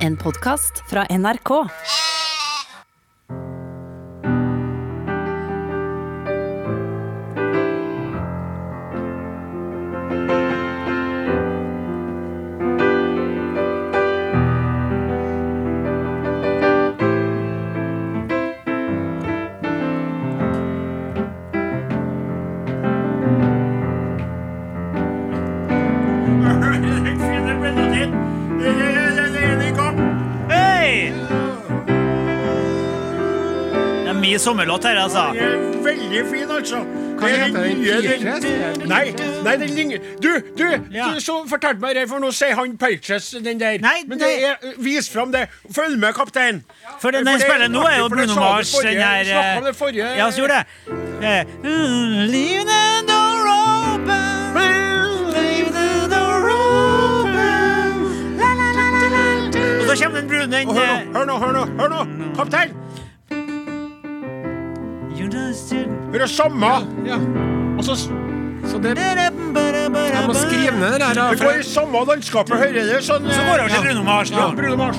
En podkast fra NRK. Hei! Det er mye sommerlåt her, altså. Veldig fin, altså. Hva heter den? Peaches? Nei, nei, den ligner Du, du, Ja. du som fortalte meg det, for nå sier han Peaches, den der. Nei, Men det er, vis fram det. Følg med, kaptein. For den jeg For det er spiller nå, er jo artig, for det Bruno sa du Mars. forrige- Den her vi snakket om det eh, forrige- Ja, så gjorde jeg. Eh, mm, Leave the door open. Leave the door open. La, la, la, la, la. Og så kommer den brune den Og hør nå, eh, hør nå, hør nå, hør nå. kaptein. You just did- Hør det samme. Ja, Og så s- så det, jeg må skrive ned det her. da, det for går i samme landskapet, hører du? Sånn, Så går det over til Bruno Mars. Ja, nå. Bruno Mars.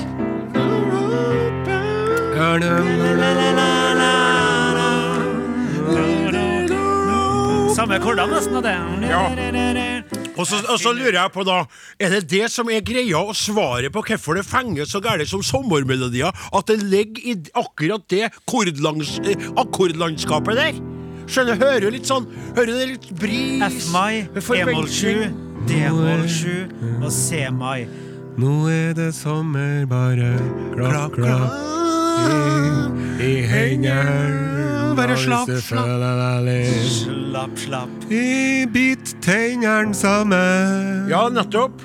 Samme korda nesten av det. Og så, og så lurer jeg på da, er det det som er greia og svaret på hvorfor det fenger så gærent som sommermelodier, at det ligger i akkurat det kordlangs, eh, akkordlandskapet der? Skjønner, hører du litt sånn, hører du litt bris F-mai, E-moll 7, forventning. D-moll 7 og C-mai. Nå er det sommer, bare klapp, klapp i hendene. Bare slapp, slapp. slapp. Slapp, slapp. I bit tennene sammen. Ja, nettopp.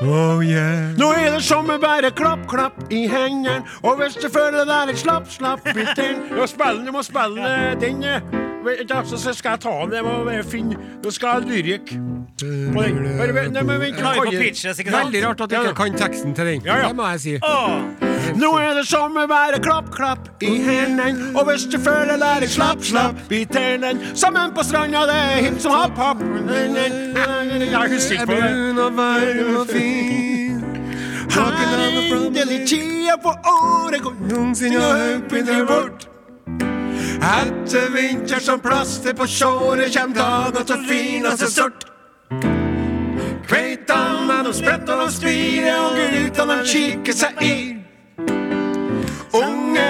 Oh yeah. Nå er det sommer, bare klapp, klapp i hendene. Og hvis du føler deg litt slapp, slapp i tenn. Du må spille, du må spille eh, den. eh, vet ikke, Så så skal jeg ta den, jeg må bare finne Nå skal jeg ha lyrik. På den. Bare vent, nei, men vent, Nå er vi kan på jeg- pitches, ikke sant? Veldig rart at jeg ikke kan teksten til den. Ja, ja. Det må jeg si. Åh, Nå er det sommer, bare klapp, klapp i hendene. Og hvis du føler deg litt slapp, slapp i tennene. Sammen på stranda, det er hipp som happ, happ. Jeg husker Jeg ikke på det. brun og varm og fin. Talking on the front Endelig tida på året går Noensinne har hoppet deg bort. Etter vinter som plaster på såret kjem dager til finaste sort. Kveitane de spretter og spirer, og guttene de kikker seg i. Unge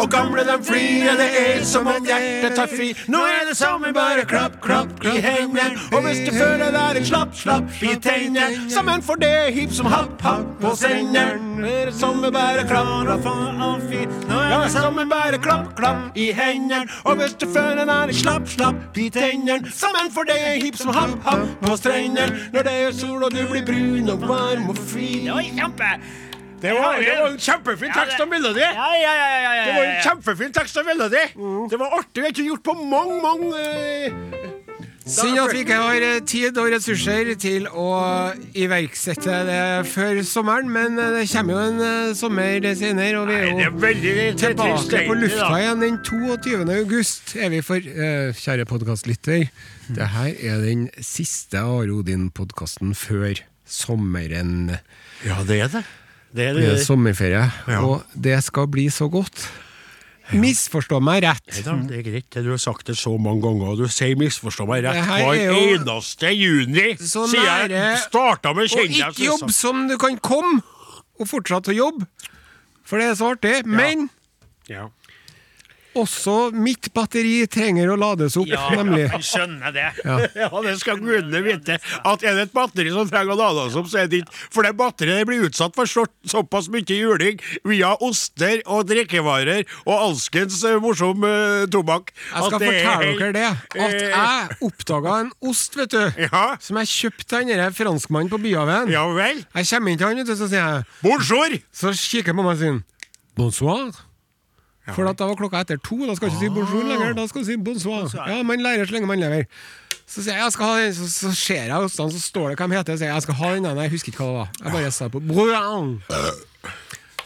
og gamle de flirer, det er som om hjertet tar fri. Nå er det sommer, bare klapp, klapp i hendene. Og hvis du føler deg litt slapp, slapp i tennene. Sammen for det hipp som happ, happ på senderen. Nå er det sommer, bare klapp, klapp. faen, all fint. Nå Ja, er det sånn. sammen bare klapp, klapp i hendene. Og hvis du føler deg litt slapp, slapp i tennene. Sammen for det er hipp som happ, happ på strendene. Når det er sol og du blir brun og varm og fin. Det var kjempe. Det var, det var en kjempefin tekst og melodi. Ja, ja, ja, ja, ja, Det Mm. var en ja. kjempefin tekst og melodi. Det var artig. Vi har ikke gjort på mange, mange eh, Synd at vi ikke har eh, tid og ressurser til å iverksette det før sommeren, men eh, det kommer jo en eh, sommer senere, og vi er Det er jo veldig tilbake på tilstrekkelig, lufta igjen den 22. august, er vi for, eh, kjære podkastlytter. Det her er den siste Are Odin-podkasten før sommeren. Ja, det er det. Det er Det er det. sommerferie, Ja. og det skal bli så godt. Misforstå meg rett. Nei da, Det er greit, det du har sagt det så mange ganger, og du sier misforstå meg rett. Det her Hver er jo eneste juni så sier jeg nære starta med Og kjendis. liksom. ikke jobb som du kan komme, og fortsatt å jobbe. For det er så artig. Men Ja. også mitt batteri trenger å lades opp, nemlig. Ja, skjønner det. ja, det skal gudene vite. At er det et batteri som trenger å lades opp, så er det ikke For det batteriet det blir utsatt for så, såpass mye juling via oster og drikkevarer og alskens eh, morsom eh, tobakk. Jeg skal at det er fortelle helt- dere det. At eh, jeg oppdaga en ost, vet du. Ja. Som jeg kjøpte til han der franskmannen på Byhaven. Ja vel. Jeg kommer inn til han, vet du, så sier jeg Bonjour! Så kikker jeg på meg og sier Bonsoir For at da var klokka etter to Da skal Ah. du ikke si bonjour lenger Da skal du si bonsoir Ja, man lærer så lenge man lever Så sier jeg Jeg skal ha den Så, så ser jeg hos den Så står det hva de heter Så sier jeg Jeg skal ha den der Nei, jeg husker ikke hva det var Jeg bare sa på Brown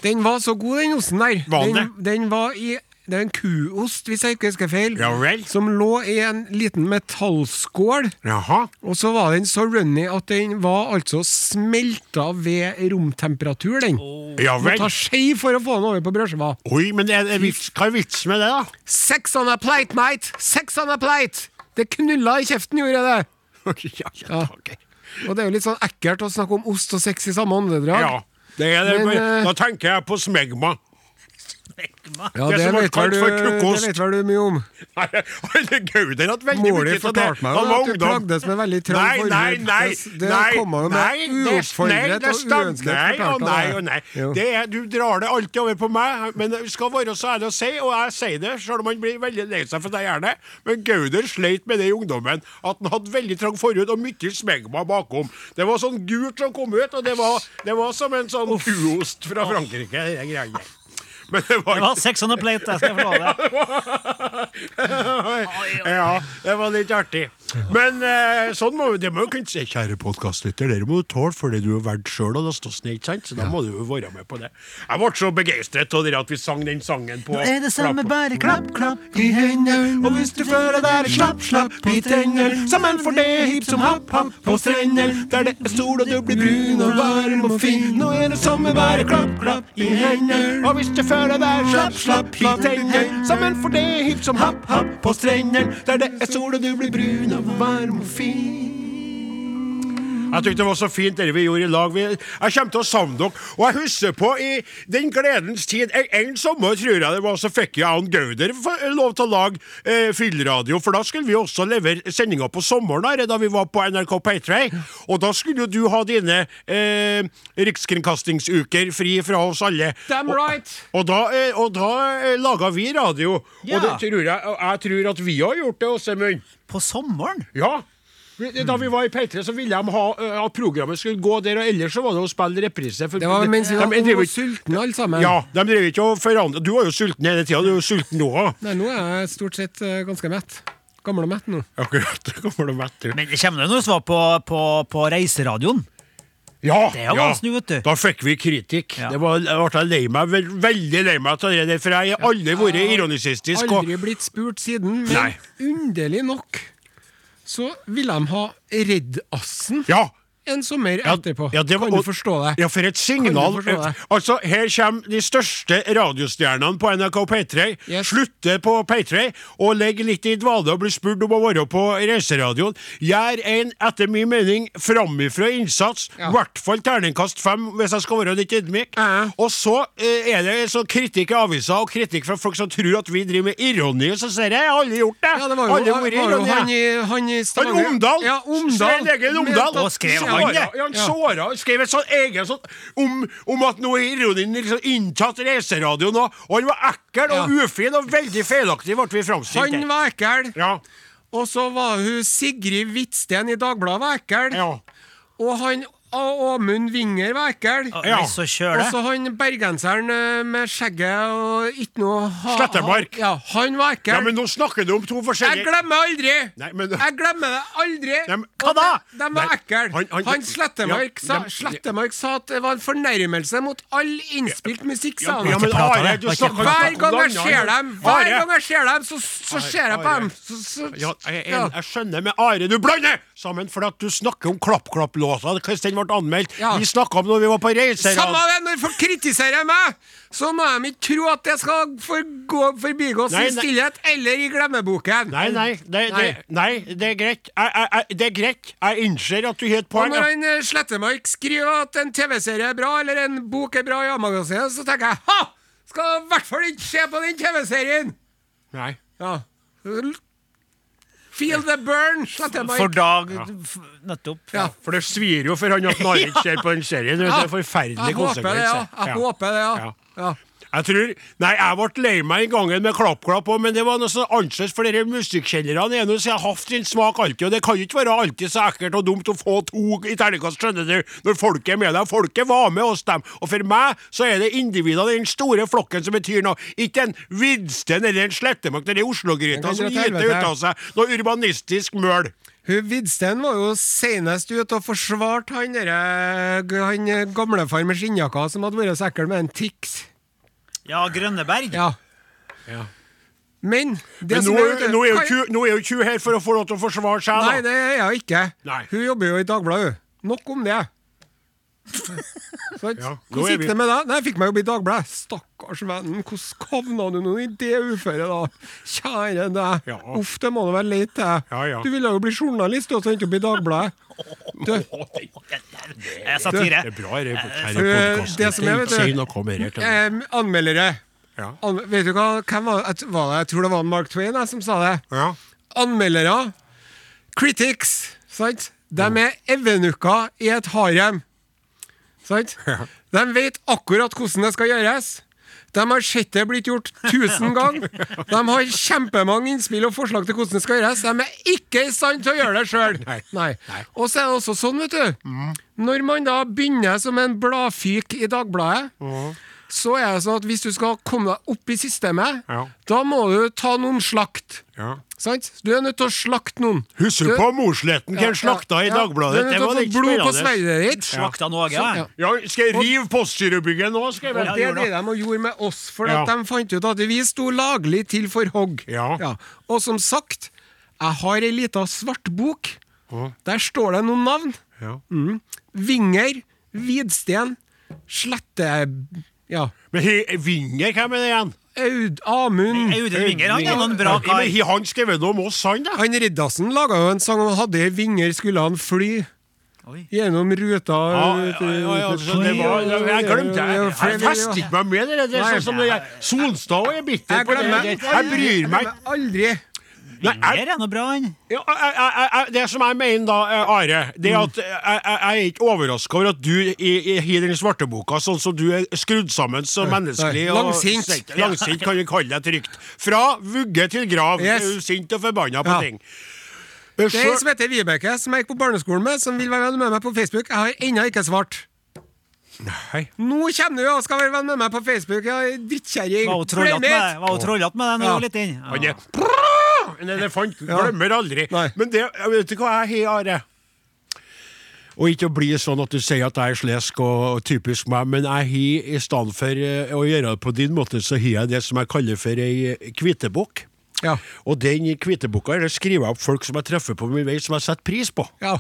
Den var så god den osten der Var den Den, den var i det er en kuost, hvis jeg ikke husker feil, Ja vel. som lå i en liten metallskål. Jaha. Og så var den så runny at den var altså smelta ved romtemperatur, den. Ja Må vel. ta skje for å få den over på brødskiva. Oi, men er, er vits, hva er vitsen med det, da? Sex on a plate, mate! Sex on a plate! Det knulla i kjeften, gjorde jeg det. ja, ja, Ja. takker. Og det er jo litt sånn ekkelt å snakke om ost og sex i samme åndedrag. ja. Det er det, Men, men, eh, da tenker jeg på smegma. Ja, Det det, som ble vet vel kalt du, for kukost. det vet vel du mye om. Nei, Alle gauder hatt veldig Mor mye di til det. fortalte meg Han jo var at du ungdom. plagdes med veldig trang Nei, nei, forhud. nei! Det- det nei, kommer jo med nei, det- uoppfordret nei, det og stemmer. uønsket Nei og fortalt av nei deg. og nei. Jo. Det er, du drar det alltid over på meg, men det skal være så ærlig å si, og jeg sier det, selv om han blir veldig lei seg for det gjerne, men Gauder sleit med det i ungdommen, at han hadde veldig trang forhud og mye smegma bakom. Det var sånn gult som kom ut, og det var, det var som en sånn kuost fra Frankrike, de greiene der. Men det var Det var sex on a plate, jeg skal få lov det. ja, det var litt artig. Men eh, sånn må det må jo kunne si. Kjære podkastlytter, dere må jo tåle for det du er verdt sjøl, og da står snill, ikke sant? Så da må du jo være med på det. Jeg ble så begeistret av dere at vi sang den sangen på Er det samme, bare klapp, klapp i hendene. Og hvis du føler deg litt slapp, slapp i tennene, sammen for det hipp som happ, happ på strendene, der det er sol og du blir brun og varm og fin, nå er det samme bare klapp, klapp i hendene. Og hvis du føler deg Slapp, slapp i tennene, sammen for det hipp som happ, happ på strendene, der det er sol og du blir brun og varm og fin. Jeg tykte det var så fint det vi gjorde i lag. Vi, jeg kommer til å savne dere. Og jeg husker på i den gledens tid En, en sommer tror jeg det var, så fikk jeg og Gauder for- lov til å lage eh, fyllradio, for da skulle vi også levere sendinga på sommeren her, da vi var på NRK P3. Og da skulle jo du ha dine eh, rikskringkastingsuker fri fra oss alle. Damn right! Og da, eh, og da eh, laga vi radio. Ja. Og det tror jeg, og jeg tror at vi har gjort det, Åsemund. På sommeren? Ja. Da vi var i P3, så ville de ha ø, at programmet skulle gå der, og ellers så var det å spille reprise. For Det var mens vi de, var de, drev var ikke- sultne alle sammen. ja, de drev ikke og forandra Du var jo sulten hele tida. Du er jo sulten nå òg. Nei, nå er jeg stort sett eh, ganske mett. Gammel og mett nå. Akkurat. det kommer du mett til. Men det kommer det når vi var på, på, på reiseradioen. Ja, Det er jo ja. vanskelig, vet du. Da fikk vi kritikk. Ja. Det var, jeg ble lei meg, vel- veldig lei meg av det der, for jeg har aldri vært ironisistisk. og- Aldri blitt spurt siden, men Nei. underlig nok så ville de ha Redd-assen Ja, en sommer etterpå. Ja, det var, kan og- du forstå det? Ja, for et Kan signal. du forstå det? Altså, Her kommer de største radiostjernene på NRK P3. Yes. Slutter på P3 og legger litt i dvale og blir spurt om å være på reiseradioen. Gjør en, etter min mening, framifrå innsats. I Ja. hvert fall terningkast fem, hvis jeg skal være litt ydmyk. Ja. Og så eh, er det sånn kritikk i aviser og kritikk fra folk som tror at vi driver med ironi, og så sier jeg jeg har aldri gjort det. Ja, det var jo, Aldri vært var jo ironi. han i, han i Han Stavanger. Omdal! Ja, Omdal. Svein Egil Omdal. Mente at- Og skrev han det? Såra- Ja, han såra og skrev et sånt egen sånt om, om at nå er ironien liksom inntatt reiseradioen, og, og han var ekkel og Ja. ufin og veldig feilaktig, ble vi framstilt. Han var ekkel. ja. Og så var hun Sigrid Hvitsten i Dagbladet var ekkel. ja. Og han A- Åmund Winger var ekkel. Og Ja. Hvis så kjører Og det. så han bergenseren eh, med skjegget og ikke noe ha, Slettemark. ha- Ja, han var ekkel. ja, men nå snakker du om to Jeg forskjellige glemmer aldri! Nei, men- Jeg glemmer det aldri! Nei, men- Hva Og da? De, de var Nei, ekle. han- Han, han- Slettemark, Ja, sa, dem- Slettemark sa at det var en fornærmelse mot all innspilt musikk, sa han. ja, men Ikke prat om Are, det. du Ikke snakker Hver gang jeg Lange, ser dem, hver Are. gang jeg ser dem, så, så ser jeg på Are. dem. Så, så, Ja, jeg, jeg, ja. jeg skjønner med Are, du blander sammen for at du snakker om klapp-klapp-låta. Hvordan den ble anmeldt. Ja. Vi snakka om når vi var på reiseradioen. Samme det, når folk kritiserer meg, så må de ikke tro at det skal forgå, forbigås Nei, nei. i stillhet eller i glemmeboken. Nei, nei, det, det, Nei. nei, det er greit. Jeg, jeg, jeg, det er greit. Jeg innser at du har et Og poeng. når ja. han eh, Slettemark skriver at en TV-serie er bra, eller en bok er bra i A-magasinet, så tenker jeg ha! Skal i hvert fall ikke se på den TV-serien! Nei. Ja. L- Feel the burn, For Slettemark. dag f- Nettopp. Ja. For det svir jo for han at Narvik ser på den serien. Det er en forferdelig Jeg håper det, ja. konsekvens. Jeg håper det, ja. Ja. ja. Jeg tror, nei, jeg ble lei meg den gangen med klapp-klapp òg, men det var noe så annerledes, for dere musikkjennerne er nå så jeg har hatt sin smak alltid, og det kan jo ikke være alltid så ekkelt og dumt å få to i terningkast, skjønner du, når folket er med deg. Folket var med oss, dem, og for meg så er det individene i den store flokken som betyr noe, ikke en Vidsten eller en Slettemark, den Oslo-gryta Den kan som dra til gyter ut helvete. av seg noe urbanistisk møl. Hun Vidsten var jo senest ute og forsvarte han, derre- han eh, gamlefar med skinnjakka som hadde vært så ekkel med en Tix. Ja, Grønneberg. Ja. Ja. Men det Men som nå, er, vet du, nå er jo hva- ikke hun- nå er jo ikke hun her for å få lov til å forsvare seg, da. Nei, det er jeg ikke. Nei. Hun jobber jo i Dagbladet. hun. Nok om det. Sant? Ja, nå Hvordan er gikk vi- det med deg? Nei, jeg fikk meg jobb i Dagbladet. Stakkars vennen, hvordan kavna du nå i det uføret, da? Kjære deg. Ja. Uff, det må nå være leit, det. Ja, ja. Du ville jo bli journalist du, og så endte opp i Dagbladet. Du, Eh, Satire. Det er bra, det Eh, podkasten. det som er, vet du- Si noe om det her. til meg. eh, anmeldere. Ja. An vet du hva, hvem var det? Jeg, var det? jeg tror det var Mark Twain jeg, som sa det. Ja. anmeldere, critics, sant? De Mm. er evenukker i et harem. Sant? De vet akkurat hvordan det skal gjøres. De har sett det blitt gjort tusen ganger. De har kjempemange innspill og forslag til hvordan det skal gjøres. De er ikke i stand til å gjøre det sjøl. Nei. Mm. Og så er det også sånn, vet du. Når man da begynner som en bladfyk i Dagbladet, Mm. så er det sånn at hvis du skal komme deg opp i systemet, Ja. da må du ta noen slakt. Ja. Sant? Du er nødt til å slakte noen. Husker Du- du på Mosletten hvem slakta i ja, Dagbladet? Du er Det nødt var til å litt få blod på spennende. sverdet ditt. Slakta Norge. Så- ja. ja. Sånn, Ja, skal jeg rive postgirobygget nå? Skal jeg Og vel? det er det de gjorde med oss, for Ja. at de fant ut at vi sto laglig til for hogg. Ja. Og som sagt, jeg har ei lita svart bok. Ja. Der står det noen navn. Ja. Mm. Vinger, Vidsten, Slette... Ja. Men he- Winger, hvem er det igjen? Aud Amund. Audun Winger, han er noen bra Ja, kar. men he- Han skrev noe om oss, han, da? Han Riddarsen laga jo en sang om hadde jeg vinger skulle han fly. Oi. Gjennom ruta eh, Ja, ja, ja, ja, altså, det var, jeg glemte det. Jeg- Jeg festet ikke meg med det. Det er sånn som det er. Solstad og er bitter Jeg på glemmer det. Jeg bryr meg Jeg glemmer aldri. Nei, jeg, Winger er noe bra, han. ja, jeg, jeg, jeg, Det som jeg mener da, eh, Are, det Mm. er at eh, jeg, jeg, jeg er ikke overraska over at du i, i, i den svarte boka, sånn som du er skrudd sammen så menneskelig nei. og Langsint. sint- Langsint kan vi kalle deg trygt. Fra vugge til grav. Yes. er du Sint og forbanna på Ja. ting. Eh, Det er så- en som heter Vibeke, som jeg gikk på barneskolen med, som vil være venn med meg på Facebook. Jeg har ennå ikke svart. Nei. Nå kommer du og skal være venn med meg på Facebook, ja, drittkjerring. Var jo trollete med deg var jo trollete med deg når du Ja. var liten. Han Ja. er Prrrr! En elefant glemmer aldri. Nei. Men det, jeg vet du hva jeg har, Are? Og ikke å bli sånn at du sier at jeg er slesk og og typisk meg, men jeg har i stedet for eh, å gjøre det på din måte, så har jeg det som jeg kaller for ei kvitebukk. Ja. Og den kvitebukka eller skriver jeg opp folk som jeg treffer på min vei, som jeg setter pris på. Ja.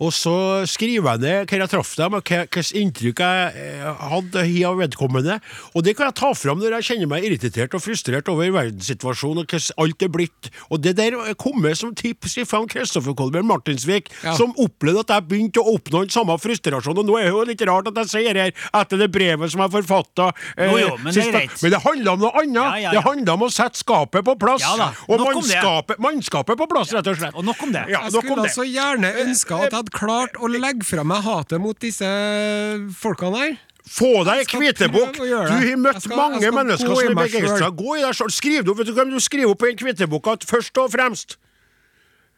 Og så skriver jeg ned hvor jeg traff dem, og hva hvilket inntrykk jeg eh, hadde hi av vedkommende. Og det kan jeg ta fram når jeg kjenner meg irritert og frustrert over verdenssituasjonen og hvordan alt er blitt. Og det der kommer som tips fra Kristoffer Kolbjørn Martinsvik, Ja. som opplevde at jeg begynte å oppnå den samme frustrasjonen. Og nå er det jo litt rart at jeg sier her, etter det brevet som jeg forfatta eh, Jo, jo, men det er sist- greit. men det handler om noe annet. Ja, ja, Det ja. handler om å sette skapet på plass. Ja da, Og nok om det. mannskapet, mannskapet på plass, rett og slett. Og nok om det. Ja, Jeg nok om skulle det. så gjerne ønske at jeg hadde klart å legge fra meg hatet mot disse folkene her. Få deg en skal kvitebok! prøve å Du gjøre det. har møtt Jeg skal- jeg mange skal mennesker gå i som er meg begeistra. selv. Gå i deg sjøl. Skriv det opp. Vet du hvem du skriver opp i den kviteboka at først og fremst?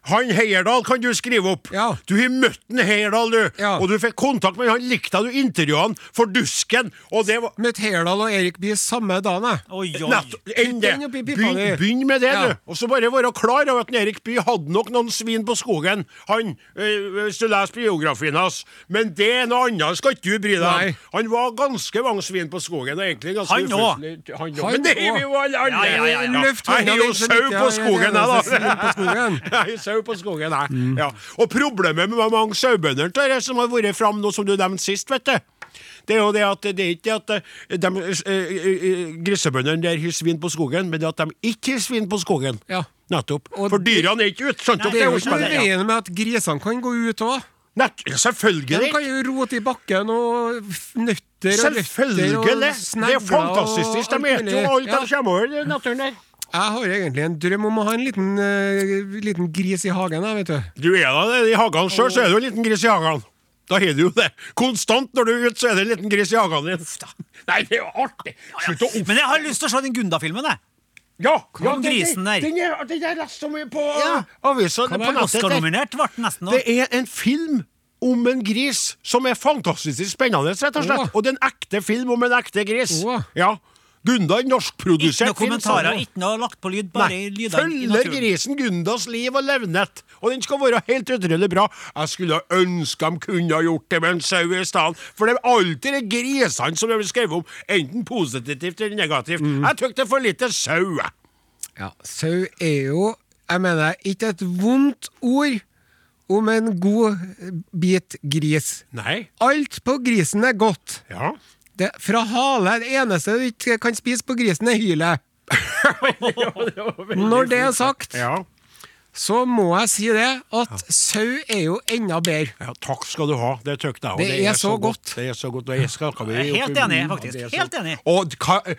Han Heierdal kan du skrive opp. Ja. Du har møtt en Heierdal, du. Ja. Og du fikk kontakt med han. Han likte deg, du intervjua han for dusken, og det var Møtte Heyerdahl og Erik Bye samme dagen, jeg. Oi, oi. Nettopp, enn det. den opp i pipa Begynn, di. begynn med det, Ja. du. Og så bare være klar over at Erik Bye hadde nok noen svin på skogen, han, øh, hvis du leser biografien hans. Men det er noe annet, skal ikke du bry deg Nei. om. Han var ganske mange svin på skogen. Og egentlig ganske Han også. uføselig. Han òg. Han Men det også. er vi jo alle andre. Ja, ja, ja, ja. Løft Jeg hånda er jo litt så sau litt, ja, på jeg er skogen, den jeg, eneste svin på da. skogen. Jeg er sau på skogen, jeg. Mm. Ja. Og problemet med mange sauebønder Tore, som har vært fram nå, som du nevnte sist, vet du. Det er jo det at det er ikke det at eh, de, eh, eh, grisebøndene der har svin på skogen, men det at de ikke har svin på skogen. Ja. Nettopp. Og For dyrene er ikke ute. Skjønte Det dere? er jo Det ikke er noe i jo ikke- veien med at grisene kan gå ut òg. Nett- De Selvfølgelig. kan jo rote i bakken og f- nøtter og røtter og Selvfølgelig! Det snegler er fantastisk. og alt De spiser jo mulig. alt Ja. de kommer over i naturen der. Jeg har egentlig en drøm om å ha en liten, eh, liten gris i hagen. Jeg, vet du. Du er da det. I hagen sjøl så er du en liten gris i hagen. Da har du jo det. Konstant når du er ute, så er det en liten gris i hagen din. Nei, det er jo artig! Slutt å opp... Men jeg har lyst til å se den Gunda-filmen, jeg. Ja! ja om den- grisen der? Den er- den er lest om i- på eh, Ja. avisa. Den på var nettet der. Oscar-nominert, ble den nesten. nå. Det er en film om en gris som er fantastisk spennende, rett og slett. Åh. Og det er en ekte film om en ekte gris. Åh. Ja. Gunda er Ikke norskprodusert noen kommentarer, film. ikke noe lagt på lyd, bare Nei, lyder i følger naturen. grisen Gundas liv og levnet, og den skal være helt utrolig bra. Jeg skulle ønske de kunne ha gjort det med en sau i stedet, for det er alltid de grisene som blir skrevet om, enten positivt eller negativt. Mm. Jeg tykker det er for lite sau. jeg. Ja, sau er jo, jeg mener, ikke et vondt ord om en god bit gris. Nei. Alt på grisen er godt. Ja. Det, fra hale, det eneste du ikke kan spise på grisen, er hylet. Når det er sagt, Ja. så må jeg si det, at sau er jo enda bedre. ja. Takk skal du ha. Det tykker jeg òg. Det er så godt. Det er så godt. Og jeg skal, kan vi, Jeg er helt oppi- enig, Ja, faktisk. det er så- Helt enig. Og ka- eh,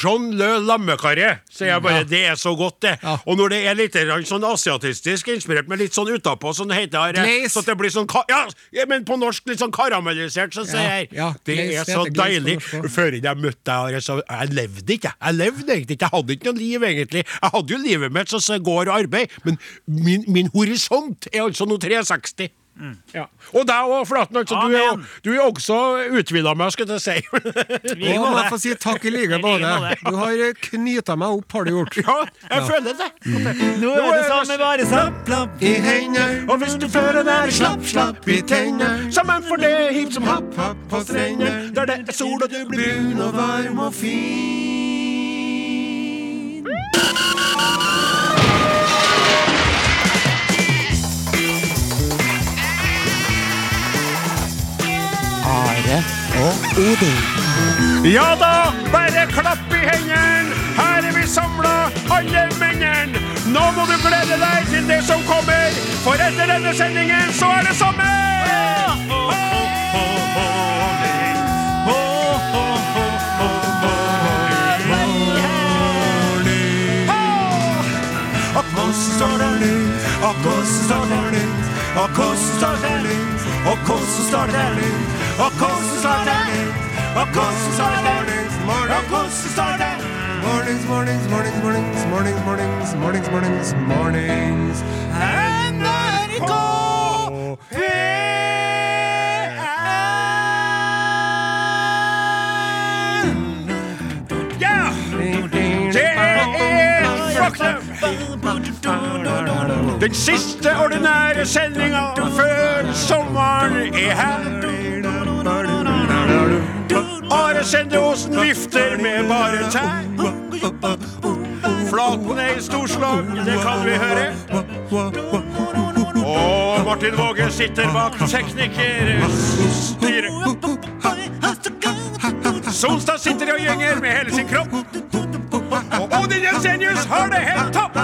Jean Le Lammekarre, sier jeg bare. Det er så godt, det. Ja. Og når det er litt grann sånn asiatistisk inspirert, med litt sånn utapå, sånn heter det, Glaze. så at det blir sånn ka- Ja, ja, men på norsk litt sånn karamellisert, så sier jeg. ja, det glaze, er det så heter glaze på deilig. norsk også. Før jeg møtte deg, Are, så jeg levde ikke. Jeg levde egentlig ikke. Jeg hadde ikke noe liv, egentlig. Jeg hadde jo livet mitt som går og arbeid, men min, min horisont er altså nå 360. Ja. Og deg òg, Flaten. Altså, du, er, Amen. du er også utvida meg, skulle jeg til å si. Vi Og må jeg det. får si takk i like I like måte. måte. Du har knyta meg opp, har du gjort. Ja, jeg føler det. Nå er det samme bare slapp, slapp. I hender, Og hvis du fører er slapp, slapp i tenner, sammen for det hipp som happ, happ på strender, der det er sol og du blir brun og varm og fin. Ja da, bare klapp i hendene. Her er vi samla, alle mennene. Nå må du glede deg til det som kommer, for etter denne sendingen så er det sommer! Mornings, mornings, mornings, mornings, mornings, mornings, mornings, mornings, mornings. Ja! Det er Flåknem! Den siste ordinære sendinga før sommeren er her. Are Sende Osen vifter med bare tær. Flaten er i storslag, det kan vi høre. Og Martin Våge sitter bak teknikerstyret. Solstad sitter og gynger med hele sin kropp. Og Odin Jensenius har det helt topp!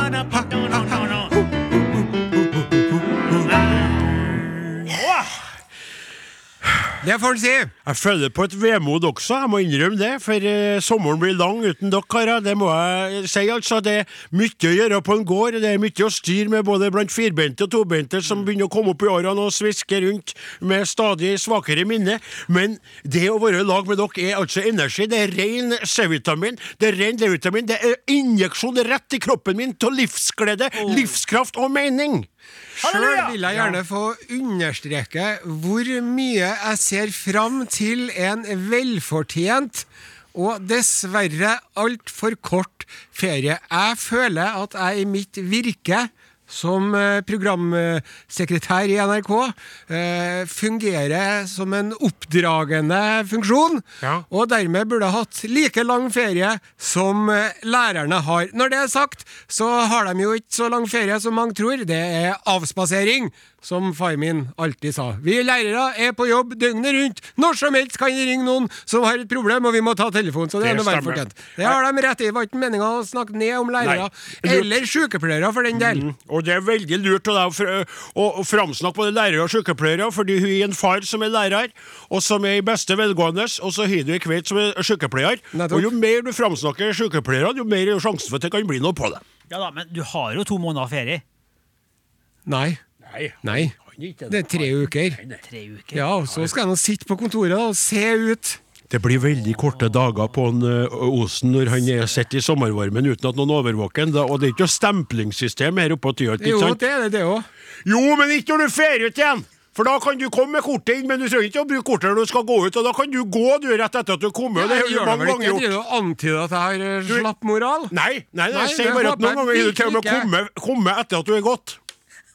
Det får en si. Jeg føler på et vemod også, jeg må innrømme det. For eh, sommeren blir lang uten dere, karer. Det må jeg si, altså. Det er mye å gjøre på en gård. Det er mye å styre med både blant firbeinte og tobeinte som begynner å komme opp i årene og sviske rundt med stadig svakere minne. Men det å være i lag med dere er altså energi. Det er ren C-vitamin, det er ren D-vitamin, det er injeksjon rett i kroppen min av livsglede, livskraft og mening. Sjøl vil jeg gjerne få understreke hvor mye jeg ser fram til en velfortjent og dessverre altfor kort ferie. Jeg føler at jeg i mitt virke som eh, programsekretær i NRK eh, fungerer som en oppdragende funksjon, Ja. og dermed burde hatt like lang ferie som eh, lærerne har. Når det er sagt, så har de jo ikke så lang ferie som mange tror. Det er avspasering, som far min alltid sa. Vi lærere er på jobb døgnet rundt. Når som helst kan det ringe noen som har et problem, og vi må ta telefonen. Så det, Det er noe vel stemmer. fortjent. Det har de rett i. Det var ikke meninga å snakke ned om lærere. Nei. Lurt. Eller sykepleiere, for den del. Og det er veldig lurt av deg å fr- å, å framsnakke både lærere og sykepleiere, fordi hun er en far som er lærer, og som er i beste velgående, og så har du ei kveit som er sykepleier. Nettopp. Og jo mer du framsnakker sykepleiere, jo mer er jo sjansen for at det kan bli noe på deg. Ja da, men du har jo to måneder ferie. Nei. Nei. Nei. Det er tre uker. Tre uker. Ja, og så skal jeg nå sitte på kontoret da, og se ut. Det blir veldig korte dager på en, ø, Osen når han er sitter i sommervarmen uten at noen overvåker ham. Og det er ikke noe stemplingssystem her oppe på Tyholt. ikke Jo, sant? det er det, det òg. Jo, men ikke når du fer ut igjen! For da kan du komme med kortet inn, men du trenger ikke å bruke kortet når du skal gå ut. Og da kan du gå du rett etter at du kommer. det har Jeg du gjør det mange vel ganger ikke. Jeg gjort. driver og antyder at jeg har eh, Du- slapp moral. Nei, nei, nei, Nei, jeg sier det bare at håper jeg noen ganger er du til og med virkelig komme, komme etter at du er gått.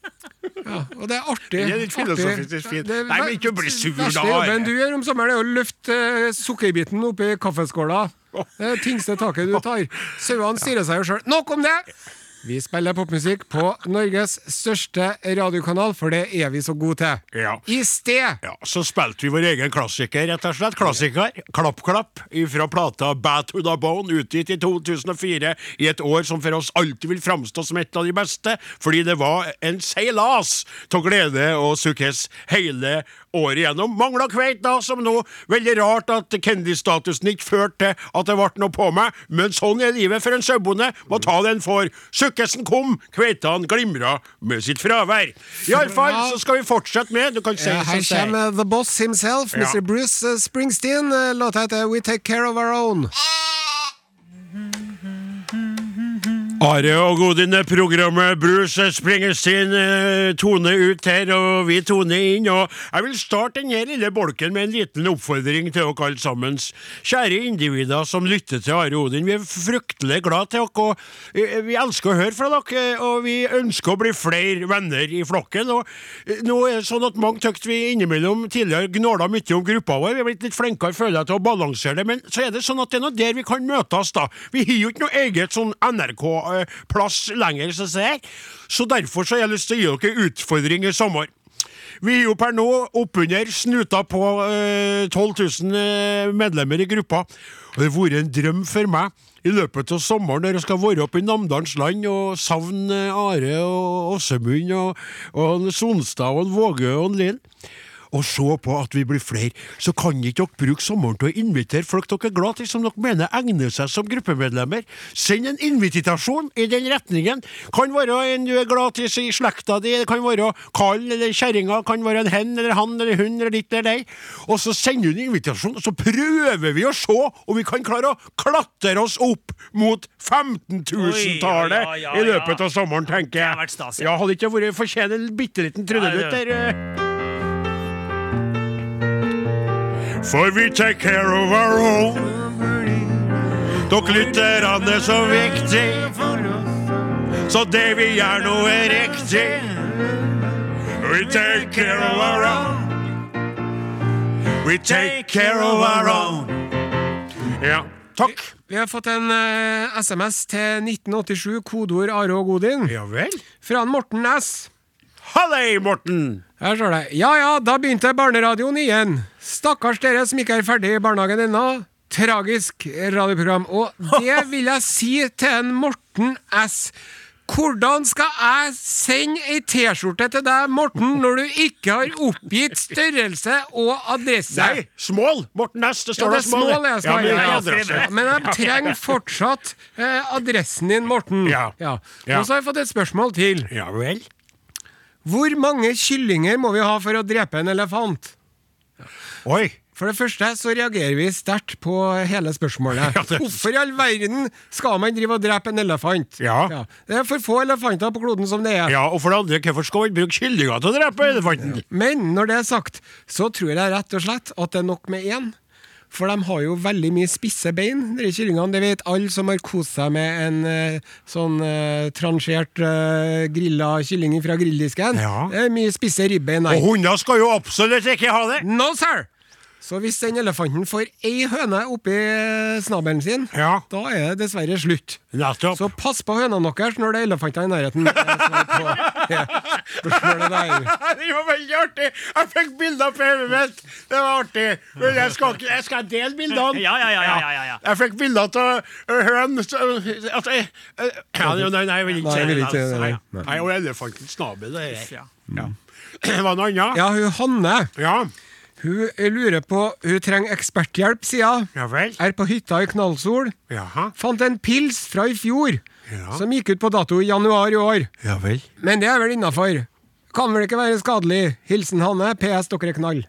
Og det er artig. Det er litt artig. filosofisk, det er fint. Det er Nei, men ikke bli sur da, verste jobben du gjør om sommeren, er å løfte eh, sukkerbiten oppi kaffeskåla. Det er det tyngste taket du tar. Sauene stirrer seg jo sjøl. Nok om det! Vi spiller popmusikk på Norges største radiokanal, for det er vi så gode til. Ja. I sted! Ja, Så spilte vi vår egen klassiker, rett og slett. Klassiker. Klapp Klapp fra plata Bad to the Bone, utgitt i 2004, i et år som for oss alltid vil framstå som et av de beste, fordi det var en seilas av glede og sukkes hele året igjennom. Mangla kveit, da, som nå. Veldig rart at kjendisstatusen ikke førte til at det ble noe på meg, men sånn er livet for en sauebonde. Må ta den for. Sukkesen kom, kveitan glimra med sitt fravær. Iallfall så skal vi fortsette med Du kan si Eh, det Her som sier. kommer The Boss himself, Ja. Mr. Bruce eh, Springsteen. Eh, Låta heter We Take Care of Our Own. Are og Godine-programmet Bruce springer sin eh, tone ut her, og vi toner inn. og Jeg vil starte denne lille bolken med en liten oppfordring til dere alle sammen. Kjære individer som lytter til Are Odin, vi er fryktelig glad til dere. og, eh, Vi elsker å høre fra dere, og vi ønsker å bli flere venner i flokken. og eh, Nå er det sånn at mange tykt vi innimellom tidligere gnåla mye om gruppa vår. Vi er blitt litt flinkere, føler jeg, til å balansere det, men så er det sånn at det er nå der vi kan møtes, da. Vi har jo ikke noe eget sånn NRK-plass lenger, så ser jeg. Så derfor så har jeg lyst til å gi dere en utfordring i sommer. Vi er jo per nå oppunder snuta på eh, 12 000 eh, medlemmer i gruppa. Og det har vært en drøm for meg i løpet av sommeren når jeg skal være oppe i Namdalens land og savne eh, Are og Åsemund og, og en Sonstad og en Vågø og en Lill og se på at vi blir flere, så kan ikke dere bruke sommeren til å invitere folk dere er glad i, som dere mener egner seg som gruppemedlemmer. Send en invitasjon i den retningen. Kan være en du er glad i i slekta di, det kan være kallen eller kjerringa, kan være en hen eller han eller hun eller ditt eller deg. Og så sender du en invitasjon, og så prøver vi å se om vi kan klare å klatre oss opp mot 15 000-tallet Oi, ja, ja, i løpet ja. av sommeren, tenker Det har jeg. vært stas, ja. Ja, hadde ikke vært fortjent en bitte liten Ja, trudelutt det- der. eh. For vi take care of our own Dere lytter an det er så viktig Så det vi gjør nå er riktig We take care of our own We take care of our own Ja, takk Vi har fått en eh, SMS til 1987, kodeord Are og Godin, Ja vel fra en Morten S. Hallei, Morten Her står det Ja ja, da begynte barneradioen igjen. Stakkars dere som ikke er ferdig i barnehagen ennå. Tragisk radioprogram. Og det vil jeg si til en Morten S. Hvordan skal jeg sende ei T-skjorte til deg, Morten, når du ikke har oppgitt størrelse og adresse? Nei, small Morten S, det Ja, står da det er small jeg skal ja, men, ha. ja, Ja, adresse. ja, Men jeg trenger fortsatt eh, adressen din, Morten. Ja. Ja. Og så har jeg fått et spørsmål til. ja vel Hvor mange kyllinger må vi ha for å drepe en elefant? Oi For det første så reagerer vi sterkt på hele spørsmålet. Ja, det- Hvorfor i all verden skal man drive og drepe en elefant? Ja. Det er for få elefanter på kloden som det er. Ja, og for det andre, hvorfor skal man bruke kyllinga til å drepe elefanten? Men når det er sagt, så tror jeg rett og slett at det er nok med én. For de har jo veldig mye spisse bein, de kyllingene. Det vet alle som har kost seg med en eh, sånn eh, transjert eh, grilla kylling fra grilldisken. Ja. Det er mye spisse ribbein der. Og hunder skal jo absolutt ikke ha det! No, sir! Så hvis den elefanten får ei høne oppi eh, snabelen sin, Ja. da er det dessverre slutt. Nettopp. Så pass på hønene deres når det er elefanter i nærheten. Det er svar på det Spørsmålet der. det var veldig artig! Jeg fikk bilder på hodet mitt! Det var artig. Men jeg skal, ikke, jeg skal dele bildene. Ja, ja, ja, ja, ja, ja, ja. Jeg fikk bilder av høn så- at jeg- eh, ja, Nei, nei, jeg vil ikke Nei, jeg vil ikke, det. nei, Nei, nei. Nei, og elefantens snabel, det er Ja. Det var noe annet? Ja, hun Hanne Ja. Hun lurer på Hun trenger eksperthjelp, sier hun. Ja vel? Er på hytta i knallsol. Jaha. Fant en pils fra i fjor Ja. som gikk ut på dato i januar i år. Ja vel. Men det er vel innafor. Kan vel ikke være skadelig. Hilsen Hanne. PS dere er knall.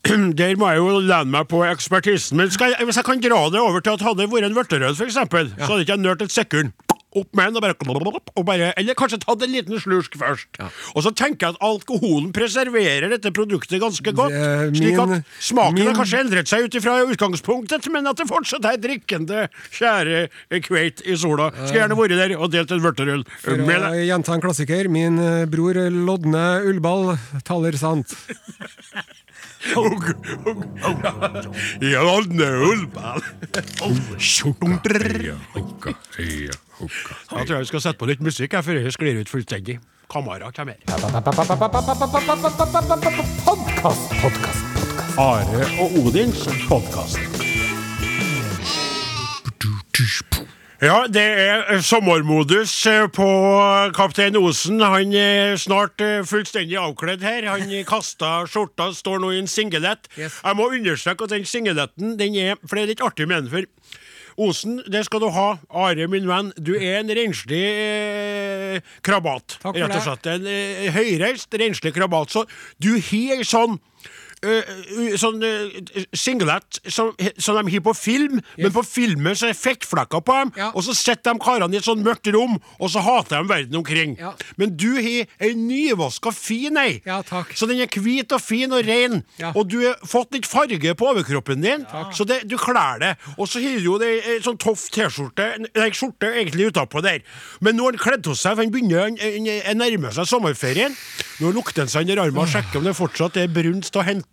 Der må jeg jo lene meg på ekspertisen. Men skal jeg, hvis jeg kan dra det over til at hadde det vært en vørterød, f.eks., så hadde ikke jeg nølt et sekund. opp med den og bare, og bare Eller kanskje tatt en liten slursk først. Og så tenker jeg at alkoholen preserverer dette produktet ganske godt. Det er slik min- at smaken min- har kanskje endret seg ut ifra utgangspunktet, men at det fortsatt er drikkende, kjære kveit i sola. Skulle gjerne vært der og delt en vørterøl For med å deg. gjenta en klassiker, min eh, bror Lodne Ullball taler sant. Ja, nøl, vel. Mm. Da tror jeg vi skal sette på litt musikk her, før jeg sklir ut fullstendig. Kamera kommer. Are og Odins podkast. Ja, det er eh, sommermodus eh, på kaptein Osen. Han er snart eh, fullstendig avkledd her. Han kasta skjorta, står nå i en singlet. Yes. Jeg må understreke at den singleten, den er For det er litt artig med den, for Osen, det skal du ha. Are, min venn, du er en renslig eh, krabat. Takk for rett og det. slett. En eh, høyreist, renslig krabat. Så du har ei sånn eh, eh, sånn eh, singlet som, som de har på film, men på filmen så er fettflekker på dem, Ja. og så sitter de karene i et sånn mørkt rom, og så hater de verden omkring. Ja. Men du har ei nyvaska fin ei, Ja, takk. så den er hvit og fin og ren, Ja. og du har fått litt farge på overkroppen din, så det, du klær det. Og så har du jo ei ei sånn tøff T-skjorte, nei, skjorte egentlig utapå der, men nå har han kledd hos seg, for han begynner han- han han nærmer seg sommerferien. Nå lukter han seg under armen og sjekker om det fortsatt er brunst å hente.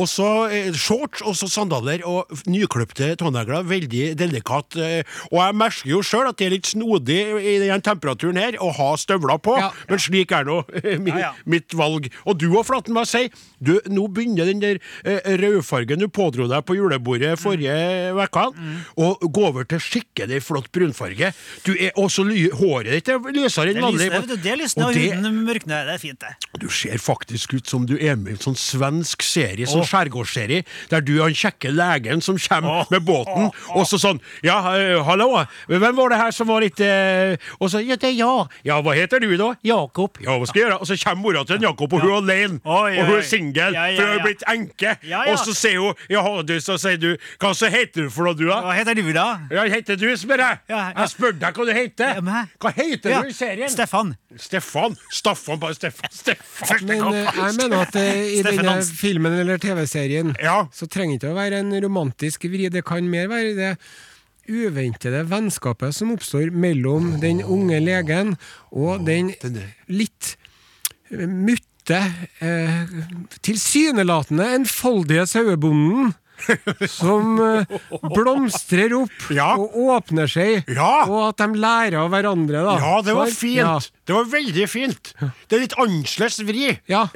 Og så eh, shorts og så sandaler og f- nykløpte tånegler. Veldig delikat. eh, Og jeg merker jo sjøl at det er litt snodig i den temperaturen her å ha støvler på, Ja. men slik er nå mi- Ja, ja. mitt valg. Og du og Flatten, må jeg si, du, nå begynner den der eh, rødfargen du pådro deg på julebordet forrige uke, å gå over til skikkelig flott brunfarge. Du er også ly håret ditt er lysere Det enn vanlig. lysner, vet du. Det lysner, Og og det- huden mørkner. Det er fint, det. du ser faktisk ut som du er med i en sånn svensk serie, sånn skjærgårdsserie, der du er den kjekke legen som kommer Åh, med båten, og så sånn Ja, eh, hallo, hvem var det her som var litt eh, Og så Ja, det er jeg. Ja, hva heter du, da? Jakob. Ja, hva skal jeg gjøre? Og så kommer mora til en Jakob, og hun er alene, Oi, oi, og hun oi. er singel, Ja, ja, for hun ja. er blitt enke, Ja, ja. og så sier hun Ja, du, så sier du Hva så heter du for noe, du, da? Hva heter du, da? Ja, heter du, spør jeg. Ja, ja. Jeg spør deg hva du heter. Ja, men hæ? Hva heter Ja, du i serien? Stefan. Stefan. Staffan, bare Stefan. Stefan. Men eh, jeg mener at eh, i Steffen denne Hansen. filmen eller TV-serien Ja. så trenger ikke å være en romantisk vri. Det kan mer være det uventede vennskapet som oppstår mellom den unge legen og den litt mutte, eh, tilsynelatende enfoldige sauebonden. Som eh, blomstrer opp Ja. og åpner seg, Ja. og at de lærer av hverandre. Da. Ja, det var Så- fint. Ja. Det var veldig fint. Det er litt annerledes vri. Ja.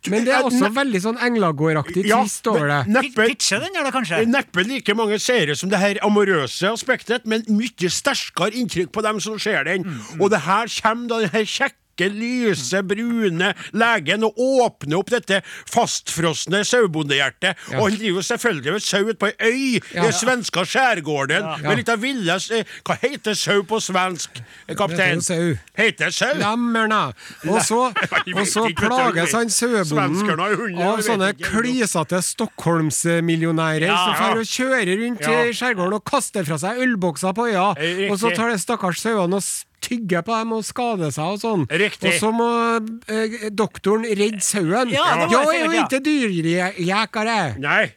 Du- Men det er jeg- også Eh, ne- veldig sånn englagårdaktig Ja, trist over det. men Neppe. Neppe, Pitche den, gjør det kanskje? neppe like mange seere som det her amorøse aspektet, men mye sterkere inntrykk på dem som ser den. Mm. Og det her kommer da den her kjekke Lyse, brune legen og åpner opp dette fastfrosne sauebondehjertet. Og han driver selvfølgelig med sau ute på ei øy i Ja. den svenske skjærgården med litt av ville eh, Hva heter sau på svensk, eh, kaptein? Heter jo sau. Heter sau? Lemmerna. Og så, vet og så ikke, vet du, jeg plages han vet. Svenskerne har hunder, sauebonden jeg av vet sånne ikke. klysete stockholmsmillionærer Ja. som drar og kjører rundt Ja. Eh, i skjærgården og kaster fra seg ølbokser på øya. Riktig. Og så tar de stakkars sauene og tygger på dem og skader seg og sånn. Riktig. Og så må eh, doktoren redde sauen. Ja, det var jeg er sikkert, jo ja. ikke dyrjekere. Nei.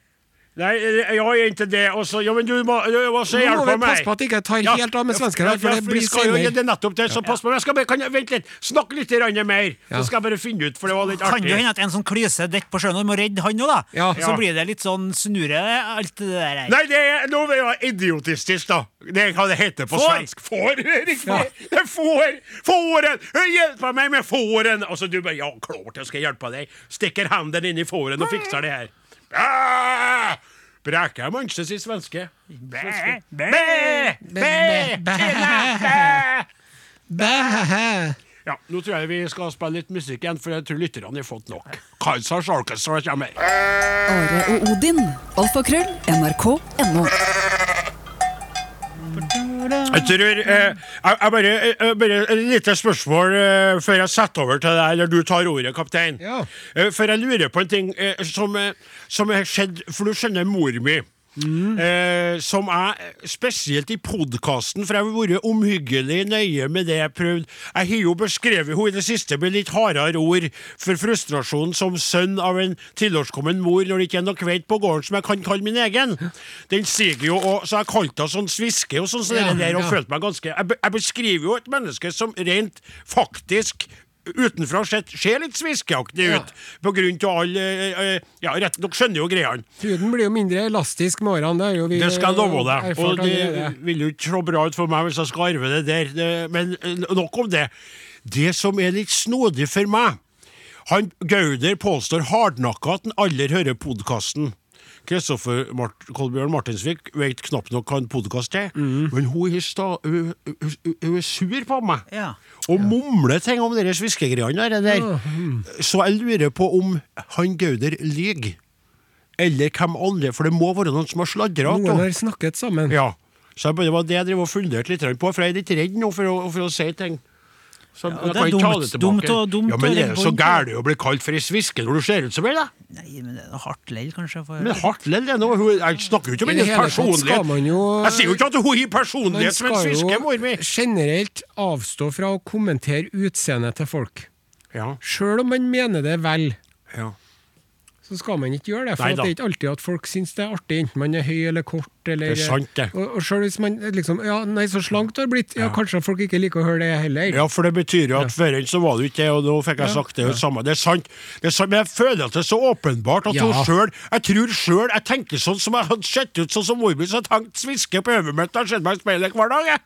Nei, eh, jeg er ikke det. Og så- ja, men du må, du må så Nå må hjelpe vi meg. passe på at det ikke tar Ja, helt av med svenskene, ja, for ja, det blir vi skal jo- senere. Det er nettopp det, så pass på. Men Jeg skal bare, kan jeg, vent litt. Snakk litt grann mer, Ja. så skal jeg bare finne ut, for det var litt Kan jo artig. hende at en sånn klyse detter på sjøen, og du må redde han òg, da. Ja. Så Ja. blir det litt sånn snurre, alt det der. Nei, det er, nå er jeg idiotistisk, da. Det er hva det heter på Får. svensk. Får! Riktig! Det er Får! Fåren! Hjelp meg med fåren! Og så du bare Ja, klart jeg skal hjelpe deg. Stikker hendene inn i fåren og fikser det her. Ah! Bræker jeg manches i svenske? Bæ, bæ. Bæ! Bæ! Bæ! Tjena! Bæ! Bæ! Ja, nå tror jeg vi skal spille litt musikk igjen, for jeg tror lytterne har fått nok. Kaizers Orchestra kommer. Are og Odin. Alfakrøll. NRK.no. Jeg tror eh, jeg, jeg bare, jeg, bare Et lite spørsmål eh, før jeg setter over til deg, eller du tar ordet, kaptein. Ja. Eh, for jeg lurer på en ting eh, som, eh, som har skjedd For du skjønner, mor mi eh, som jeg, spesielt i podkasten, for jeg har vært omhyggelig nøye med det jeg prøvde Jeg har jo beskrevet henne i det siste med litt hardere ord for frustrasjonen som sønn av en tilårskommen mor når det ikke er noe kveit på gården som jeg kan kalle min egen. Den stiger jo, og, så jeg kalte henne sånn sviske og sånn, så det Ja, der, og ja. følte meg ganske jeg, be- jeg beskriver jo et menneske som rent faktisk Utenfra sett ser litt sviskeaktig Ja. ut, på grunn av alle eh, eh, Ja, rett nok skjønner jo greiene. Huden blir jo mindre elastisk med årene. Det, er jo vi Det skal jeg love deg. erfart Og det allerede. vil jo ikke se bra ut for meg hvis jeg skal arve det der. Det- Men eh, nok om det. Det som er litt snodig for meg han Gauder påstår hardnakka at han aldri hører podkasten. Kristoffer Mart Kolbjørn Martinsvik vet knapt nok hva en podkast er, men hun, er sta- hun, hun, hun er sur på meg Ja. og mumler ting om de sviskegreiene der. der. Så jeg lurer på om han Gauder lyver. Eller hvem andre, for det må være noen som har sladra. Noen har snakket sammen. Ja. Så jeg bare, det var det jeg drev og funderte litt på, for jeg er litt redd nå for å, for å si ting. Så Ja, jeg det er kan ikke ta dumt- det dumt tilbake. og- dumt ja, men og det er jo så redde gærent å bli kalt for ei sviske når du ser ut som ei, da. Nei, men det er hardt lell, kanskje. For... Men hardt lell, det nå. Hun- Jeg snakker jo ikke om I det hennes hele tatt skal personlighet. man jo- Jeg sier jo ikke at hun har Man personlighet som en skal sviske, mor mi. jo generelt avstå fra å kommentere utseendet til folk. Ja, Sjøl om man mener det vel, ja. så skal man ikke gjøre det. For Nei at da. det er ikke alltid at folk syns det er artig, enten man er høy eller kort. Eller, Det er sant, det. Og, og sjøl hvis man liksom Ja, nei, så slank du har blitt. Ja, kanskje folk ikke liker å høre det heller. Ja, for det betyr jo at før enn så var det jo ikke det, og nå fikk jeg sagt det jo samme. Det er sant. Det er sant, men jeg føler at det er så åpenbart at Ja. hun sjøl Jeg tror sjøl jeg tenker sånn som jeg hadde sett ut sånn som mormor, så jeg tenkte sviske på øyet mitt og sett meg i speilet hver dag, jeg.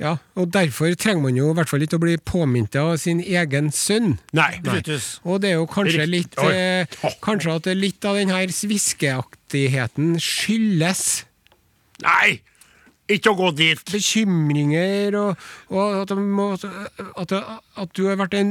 Ja, og derfor trenger man jo i hvert fall ikke å bli påminnet av sin egen sønn. Nei. Brutus. Og det er jo kanskje Riktig. litt Oi. eh, Kanskje at det er litt av den her sviskeaktigheten skyldes Nei! Ikke å gå dit. bekymringer, og, og at, det må, at, det, at du har vært en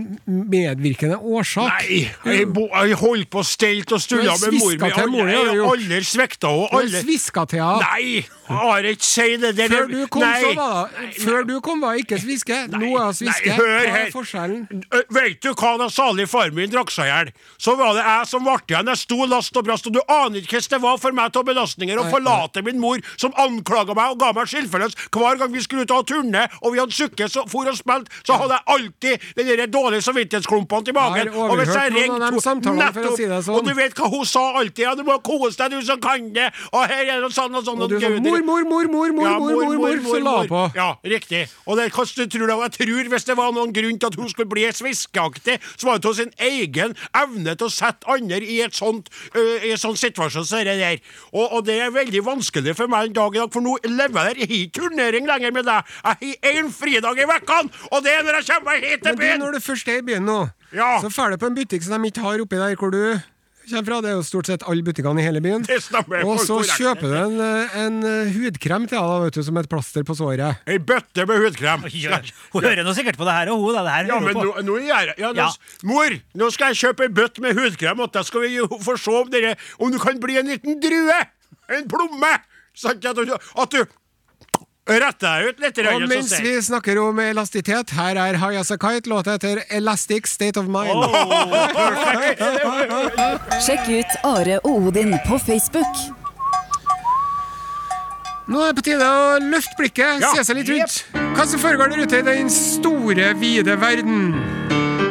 medvirkende årsak. Nei! Jeg, bo, jeg holdt på stelt og Du stulla har med mor sviska til mi. mor, Jeg har har du gjort. aldri svikta henne. Du har Aldri. sviska til henne. Nei! Are, ikke si det der. Før du kom, Nei. så var det Før du kom var ikke sviske. Nå er hun sviske. Nei, hør Hva her. er forskjellen? Ø, Vet du hva da salig far min drakk seg i hjel? Så var det jeg som ble igjen. Jeg sto last og brast, og du aner ikke hvordan det var for meg av belastninger å Nei, forlate min mor, som anklaga meg og ga meg skilfeles hver gang vi skulle ut og turne, og vi hadde sukket og for og spilt, så hadde jeg alltid den der dårlige samvittighetsklumpene i magen. Jeg har overhørt noen av de ringte- samtalene, for å si det sånn. Og du vet hva hun sa alltid? Ja, du må kose deg, du som kan det, og her er det sånn og sånn. Og du sa Gud, mor, mor, mor, mor, mor, Ja, mor, mor, mor, så la hun på. Ja, riktig. Og det, hva du tror du, og jeg tror hvis det var noen grunn til at hun skulle bli sviskeaktig, så var det av sin egen evne til å sette andre i et sånt øh, i en sånn situasjon som det der. Og, og det er veldig vanskelig for meg en dag i dag, for nå lever jeg der. Jeg har ikke turnering lenger med deg. Jeg har én fridag i vekken, og det er når jeg kommer meg hit til Men du, byen! når du først er i byen nå, Ja. så drar du på en butikk som de ikke har oppi der hvor du kommer fra. Det er jo stort sett alle butikkene i hele byen. Det stemmer, Og folk så går rett kjøper du en, eh, en eh, hudkrem til deg, da, vet du, som et plaster på såret. Ei bøtte med hudkrem. Ja, Hun hører nå sikkert på det her, og hun da. Det her Ja, hører men hun nå, på. nå gjør jeg ja, nå, Ja. s- Mor, nå skal jeg kjøpe ei bøtt med hudkrem, og da skal vi jo få se om, dere, om du kan bli en liten drue! En plomme! Sant? At du, at du retter deg ut litt. Og mens vi snakker om elastitet, her er High As A Kite, låta etter Elastic State of Mind. Sjekk ut Are og Odin på Facebook. Nå er det på tide å løfte blikket, Ja. se seg litt rundt. Hva som foregår der ute i den store, vide verden?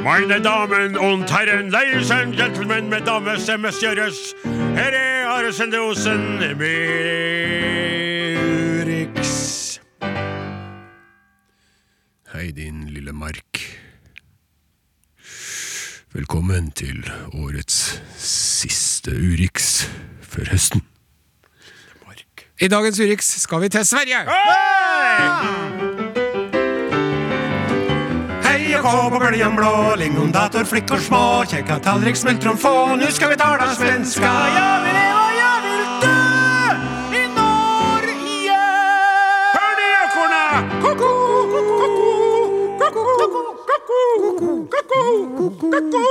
Mine damen og herren, ladies and gentlemen, mesdames et messieurs. Her er Are Sende Osen med Urix. Hei, din lille mark. Velkommen til årets siste Urix før høsten. I dagens Urix skal vi til Sverige! Hei og kå på bølgen blå, lingondator, flickor små, kjekka tallrik, smultron få, nu ska vi tala svenska. Jag vill leva, jag vill dö i Norge. Hør de ekorna! Ko-ko, ko-ko, ko-ko, ko-ko, ko-ko, ko-ko, ko-ko.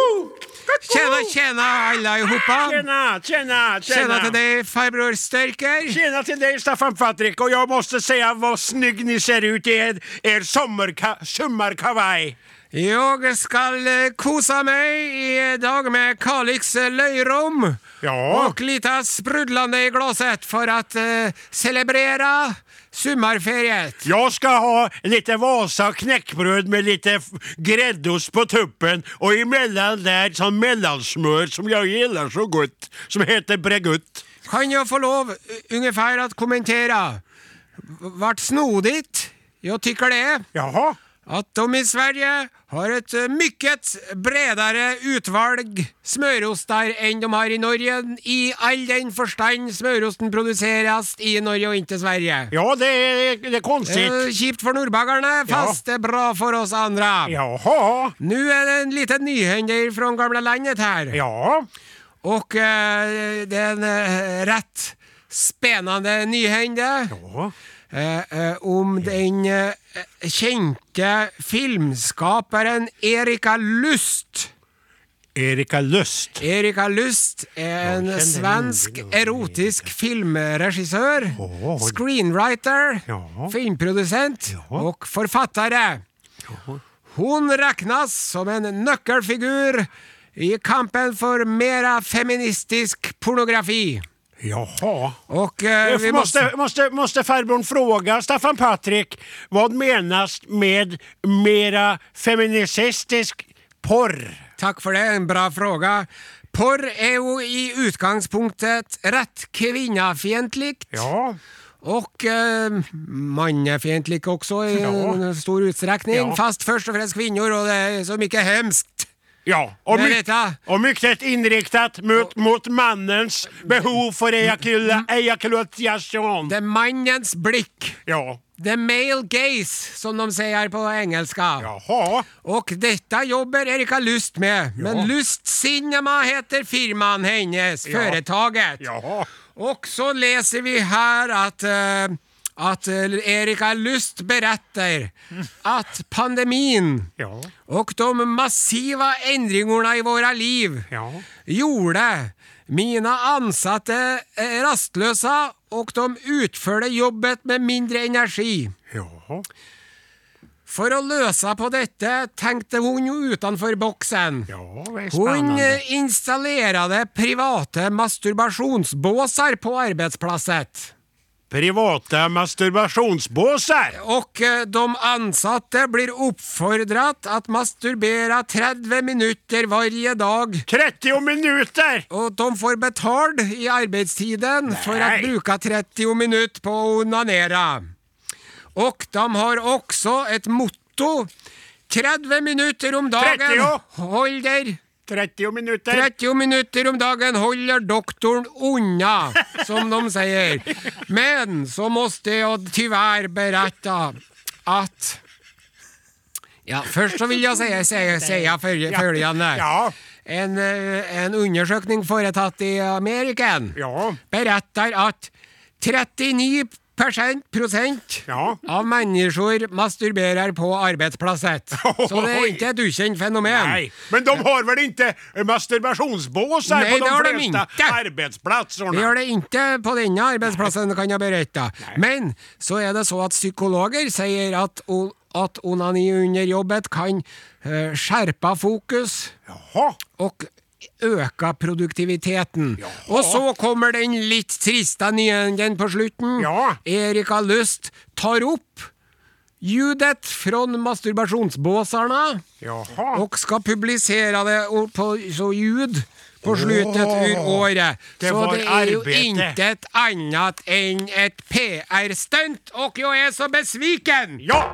Tjena, tjena, alle i hoppa! Tjena, tjena, Tjena tjena. til deg, farbror Størker! Tjena till dig Staffan Patrik och jag måste säga vad snygg ni ser ut i er, er sommarka, sommarkavaj. Jeg skal eh, kose meg i dag med Kalix eh, løyrom. Ja. Og lita sprudlande i glasset for at eh, celebrere sommerferiet. Jag ska ha lite Vasa knäckbröd med lite f- gräddost på tuppen och emellan där sån mellansmör sånn som jag gillar så gott, som heter Bregutt. Kan jeg få lov eh, ungefär at kommentere? Vart snodigt? Jeg tycker det. Jaha. At de i Sverige har et eh, mycket bredere utvalg smøroster enn de har i Norge, i all den forstand smørosten produseres i Norge og ikke Sverige. Ja, det är, det är konstigt. Eh, Kjipt for nordbagerne, fast det er bra for oss andre. Eh, Jaha. Nå er det en liten nyhender fra gamle landet her, Ja. og eh, det er en eh, rett spennende nyhende. Ja. eh, eh, om den eh, kjente filmskaperen Erika Lust. Erika Lust. Erika Lust er en kjenner hun svensk til noe. erotisk filmregissør, Åh. screenwriter, Ja. filmprodusent og forfattere. Hun regnes som en nøkkelfigur i kampen for mer feministisk pornografi. Jaha. Og eh, Jag vi måste... Måste, måste, måste farbrorn fråga Staffan Patrik vad menas med mera feministisk porr? Takk for det, en bra fråga. Porr er jo i utgangspunktet rett kvinnefiendtlig. Ja. Og eh, mannefiendtlig også, i Ja. stor utstrekning. Ja. Fast først og fremst kvinner, og det er så mye hemskt. Ja, och, Men my- detta- och mycket inriktat mot, mot mannens behov för ejakula, ejakulation. Mm. Det er mannens blikk. Ja, The male gaze, som de sier på engelska. jaha. Og dette jobber Erika Lust med, men Lust Cinema heter firmaen hennes, foretaket. Ja. Og så leser vi her at, eh, at eh, Erika Lust beretter Mm. at pandemien Ja. og de massiva endringene i våra liv Ja. gjorde mina ansatte eh, rastlösa och de utförde jobbet med mindre energi. Ja. For å løse på dette tenkte hun jo utenfor boksen. Ja, det är Hun eh, spännande. installerade private masturbasjonsbåser på arbeidsplasset. Privata masturbationsbåsar. Og eh, de ansatte blir oppfordret at masturbere 30 minutter hver dag. 30 minuter! Og de får betalt i arbeidstiden for å Nei. bruke 30 minutter på å onanere. Og de har også et motto. 30 minutter om dagen 30. holder 30 minuter. 30 minutter om dagen holder doktoren unna, som de sier. Men så måste jeg tyvärr berette at Ja, først så vil jeg si, si, si følge- følgende. Ja. En, eh, en undersøkning foretatt i Ameriken Ja. beretter at 39 prosent Ja. av mennesker masturberer på arbeidsplasset. Så det er ikke et ukjent fenomen. Nej, men de har väl inte masturbationsbåsar Nej, på det har de de flesta inte. arbetsplatserna? Vi gjør det ikke på denne arbeidsplassen, kan jeg berette. Men så er det så at psykologer sier at, o- at onani under jobbet kan eh, skjerpe fokus Jaha. og øke produktiviteten. Og så kommer den litt triste nyheten på slutten. Ja. Erika Lust tar opp ljudet fra masturbasjonsbåserne Jaha. og skal publisere det o- på så ljud på slutten ur året. det så var det er jo arbete. intet annet enn et PR-stunt, og jeg er så besviken! Ja,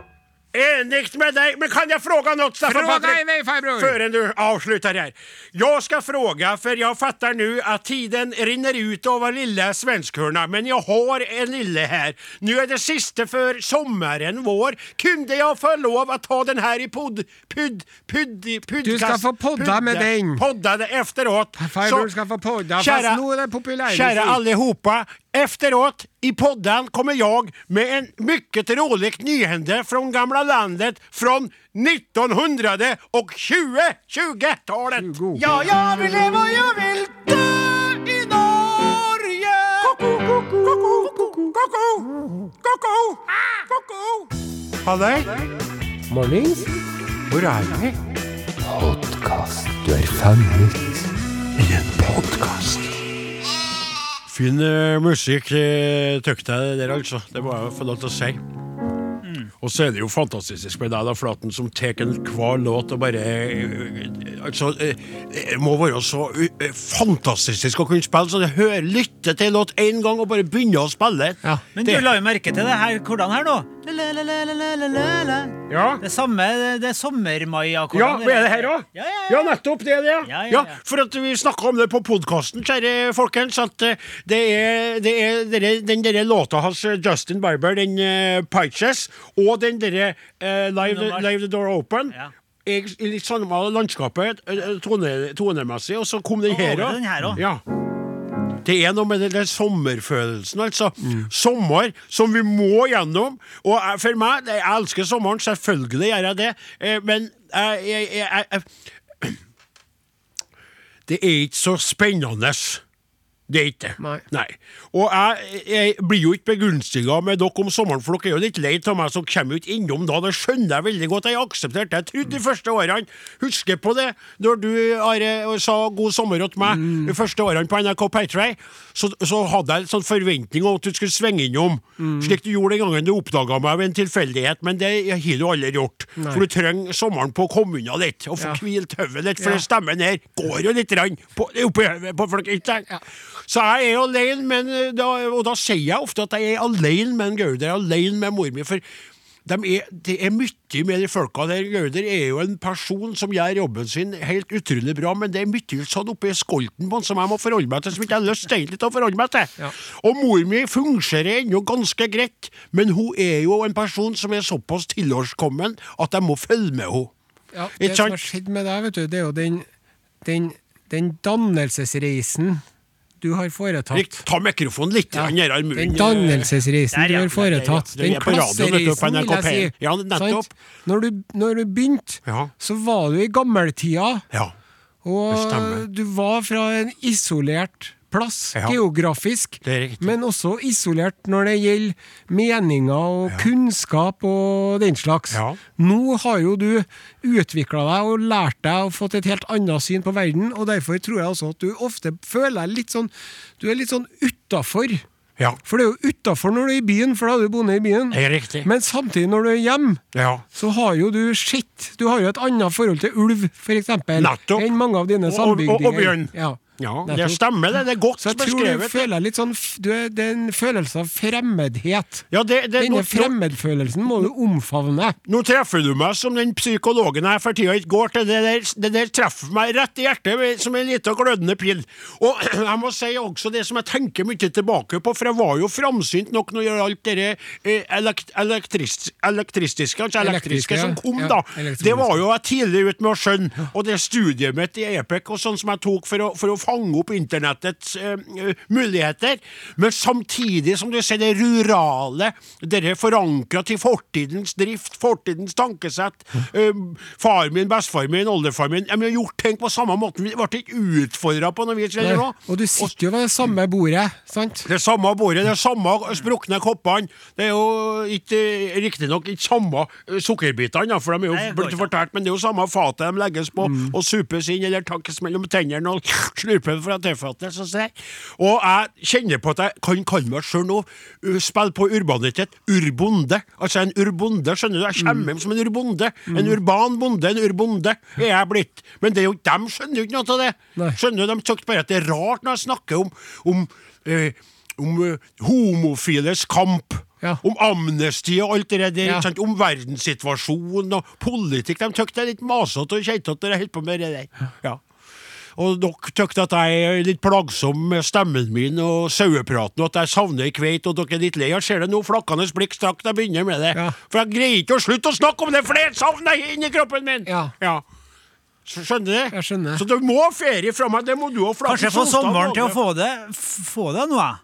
enigt med dig. Men kan jag fråga något, Staffan Fråga i Patrik? vei, farbror! Förrän du avslutar här. Jag ska fråga, för jag fattar nu att tiden rinner ut av lilla svenskhörna, men jag har en lille här. Nu är det sista för sommaren, vår. Kunde jag få lov att ta den här i podd... Pydd... Pydd... Pydd... Du ska få podda med den. Podda det efteråt. Farbror Så- skal få podda, Kära- fast nå er det populær Kära musikk. allihopa, efteråt i podden kommer jag med en mycket rolig nyhände från gamla landet från 1900 och 2020-talet. Tjugo. Ja, jag vill leva och jag vill dö i Norge! Koko, koko, koko, koko, koko, koko. Hallå? Mornings? Hvor er vi? Podkast. Du er fanget i en podkast. Fin eh, musikk eh, tøkk deg det der, altså. Det må jeg jo få lov til å si. Mm. Og så er det jo fantastisk med deg, da, Flaten, som tar enhver låt og bare eh, Altså, eh, det må være så eh, fantastisk å kunne spille, så du hører lytte til en låt én gang og bare begynner å spille. Ja. Men du Det- la jo merke til det her, hvordan her nå? La-la-la-la-la-la-la. Ja. Det er samme, det er sommermaia-akkorden. Ja, men er det her også? Ja, ja, Ja, ja. nettopp det, det. Ja, ja, ja. for at vi snakka om det på podkasten, kjære folkens, at eh, det er, det er dere- den derre låta hans, eh, Justin Bieber, den uh, Piches, og den derre eh, Live the- Nummer. Live the Door Open. Ja. Jeg, I litt samme landskapet, eh, tone, tonemessig, og så kom den Og her over også. den her også. Ja. Det er noe med den der sommerfølelsen, altså. Sommer som vi må gjennom. Og jeg- for meg, jeg elsker sommeren, selvfølgelig gjør jeg det, eh, men jeg, jeg, jeg, jeg det er ikke så spennende. Det er ikke det. Nei. Og jeg, jeg blir jo ikke begunstiga med dere om sommeren, for dere er jo litt lei av meg som kommer ut innom da. Det skjønner jeg veldig godt. Jeg aksepterte det. Jeg trodde de første årene Husker på det, når du Are, sa god sommer til meg Mm. de første årene på NRK Patray, så, så hadde jeg en sånn forventning om at du skulle svinge innom, Mm. slik du gjorde den gangen du oppdaga meg ved en tilfeldighet, men det har du aldri gjort. For du trenger sommeren på å komme unna litt, og få Ja. hvilt hodet litt, for Ja. det stemmen her går jo litt rann på, oppi hodet på folk. Ikke? sant? Så jeg er alene, men eh, da, og da sier jeg ofte at jeg er alene med en Gauder, alene med mor mi. For dem er, det er mye med de folka der. Gauder er jo en person som gjør jobben sin helt utrolig bra, men det er mye sånn oppi skolten på han som jeg må forholde meg til, som ikke jeg har lyst egentlig til å forholde meg til. Og mor mi fungerer ennå ganske greit, men hun er jo en person som er såpass tilårskommen at jeg må følge med henne. Ja, Ikke det som sant? har skjedd med deg, vet du, det er jo den, den, den dannelsesreisen du har foretatt. Rikt, ta mikrofonen litt Ja. ja. nærmere munnen. Den dannelsesreisen Der, ja. du har foretatt, Der, ja. den Det er på radioen, vet du, på klassereisen, vil jeg si. NRK P1. Ja, nettopp. Sant? Når du, når du begynte, Ja. så var du i gammeltida, Ja. det stemmer. og du var fra en isolert plass, Ja. geografisk, Det er riktig. men også isolert når det gjelder meninger og kunnskap og den slags. Ja. Nå har jo du utvikla deg og lært deg og fått et helt annet syn på verden, og derfor tror jeg også at du ofte føler deg litt sånn Du er litt sånn utafor. Ja. For det er jo utafor når du er i byen, for da er du bonde i byen. Det er riktig. Men samtidig, når du er hjemme, ja. så har jo du sett Du har jo et annet forhold til ulv, f.eks., Nettopp. enn mange av dine Og- og- sambygdinger. og bjørn. sånn Ja. ja. Det nettopp. stemmer, det. Det er godt Så jeg tror du beskrevet. føler litt sånn f- du er, Det er en følelse av fremmedhet. Ja, det, det, Denne nå, nå, fremmedfølelsen må du omfavne. nå treffer du meg som den psykologen jeg for tida ikke går til. Det der, det der treffer meg rett i hjertet med- som en liten glødende pil. Og jeg må si også det som jeg tenker mye tilbake på, for jeg var jo framsynt nok når det gjaldt alt det eh, elekt, elektris, elektristiske, altså Elektriske, elektriske som kom, ja. da. Ja, elektroniske. Det var jo jeg tidlig ute med å skjønne, og det studiet mitt i EPEC og sånn som jeg tok for å, for å fange opp internettets eh, eh, muligheter, men samtidig som du ser det rurale, dere forankra til fortidens drift, fortidens tankesett, eh, far min, bestefar min, oldefar min, de har gjort ting på samme måten, vi ble ikke utfordra på noe vis eller noe. Og du sitter jo ved det samme bordet, sant? Det er samme bordet, det er samme sprukne koppene. Det er jo ikke eh, riktignok ikke samme eh, sukkerbitene, da, for de er jo Nei, det går blitt ikke. Mm. fortært, men det er jo samme fatet de legges på og supes inn eller takkes mellom tennene og slurpes fra tilfattet. så å si. Og jeg kjenner på at jeg kan kalle meg sjøl nå uh, spille på urbanitet. Urbonde. Altså en urbonde, skjønner du. Jeg Mm. kommer hjem som en urbonde. En urban bonde, en urbonde er jeg blitt. Men det er jo, dem skjønner jo ikke noe av det. Nei. Skjønner du, De syns bare at det er rart når jeg snakker om, om, eh, om eh, homofiles kamp. Ja. Om amnesti og alt det der. Ja. ikke sant? Om verdenssituasjonen og politikk. De syns det er litt masete og keitete når jeg holder på med det der. Ja. Og dere syns at jeg er litt plagsom med stemmen min og sauepraten, og at jeg savner ei kveit, og dere er litt lei. Jeg ser det nå, flakkende blikk straks jeg begynner med det. Ja. For jeg greier ikke å slutte å snakke om det, for det er et savn jeg har inni kroppen min! Ja. Så skjønner du? Jeg skjønner. Så du må ha ferie fra meg, det må du ha. for at Kanskje du få solgte av sommeren til å Norge. få det, f- få det nå, jeg.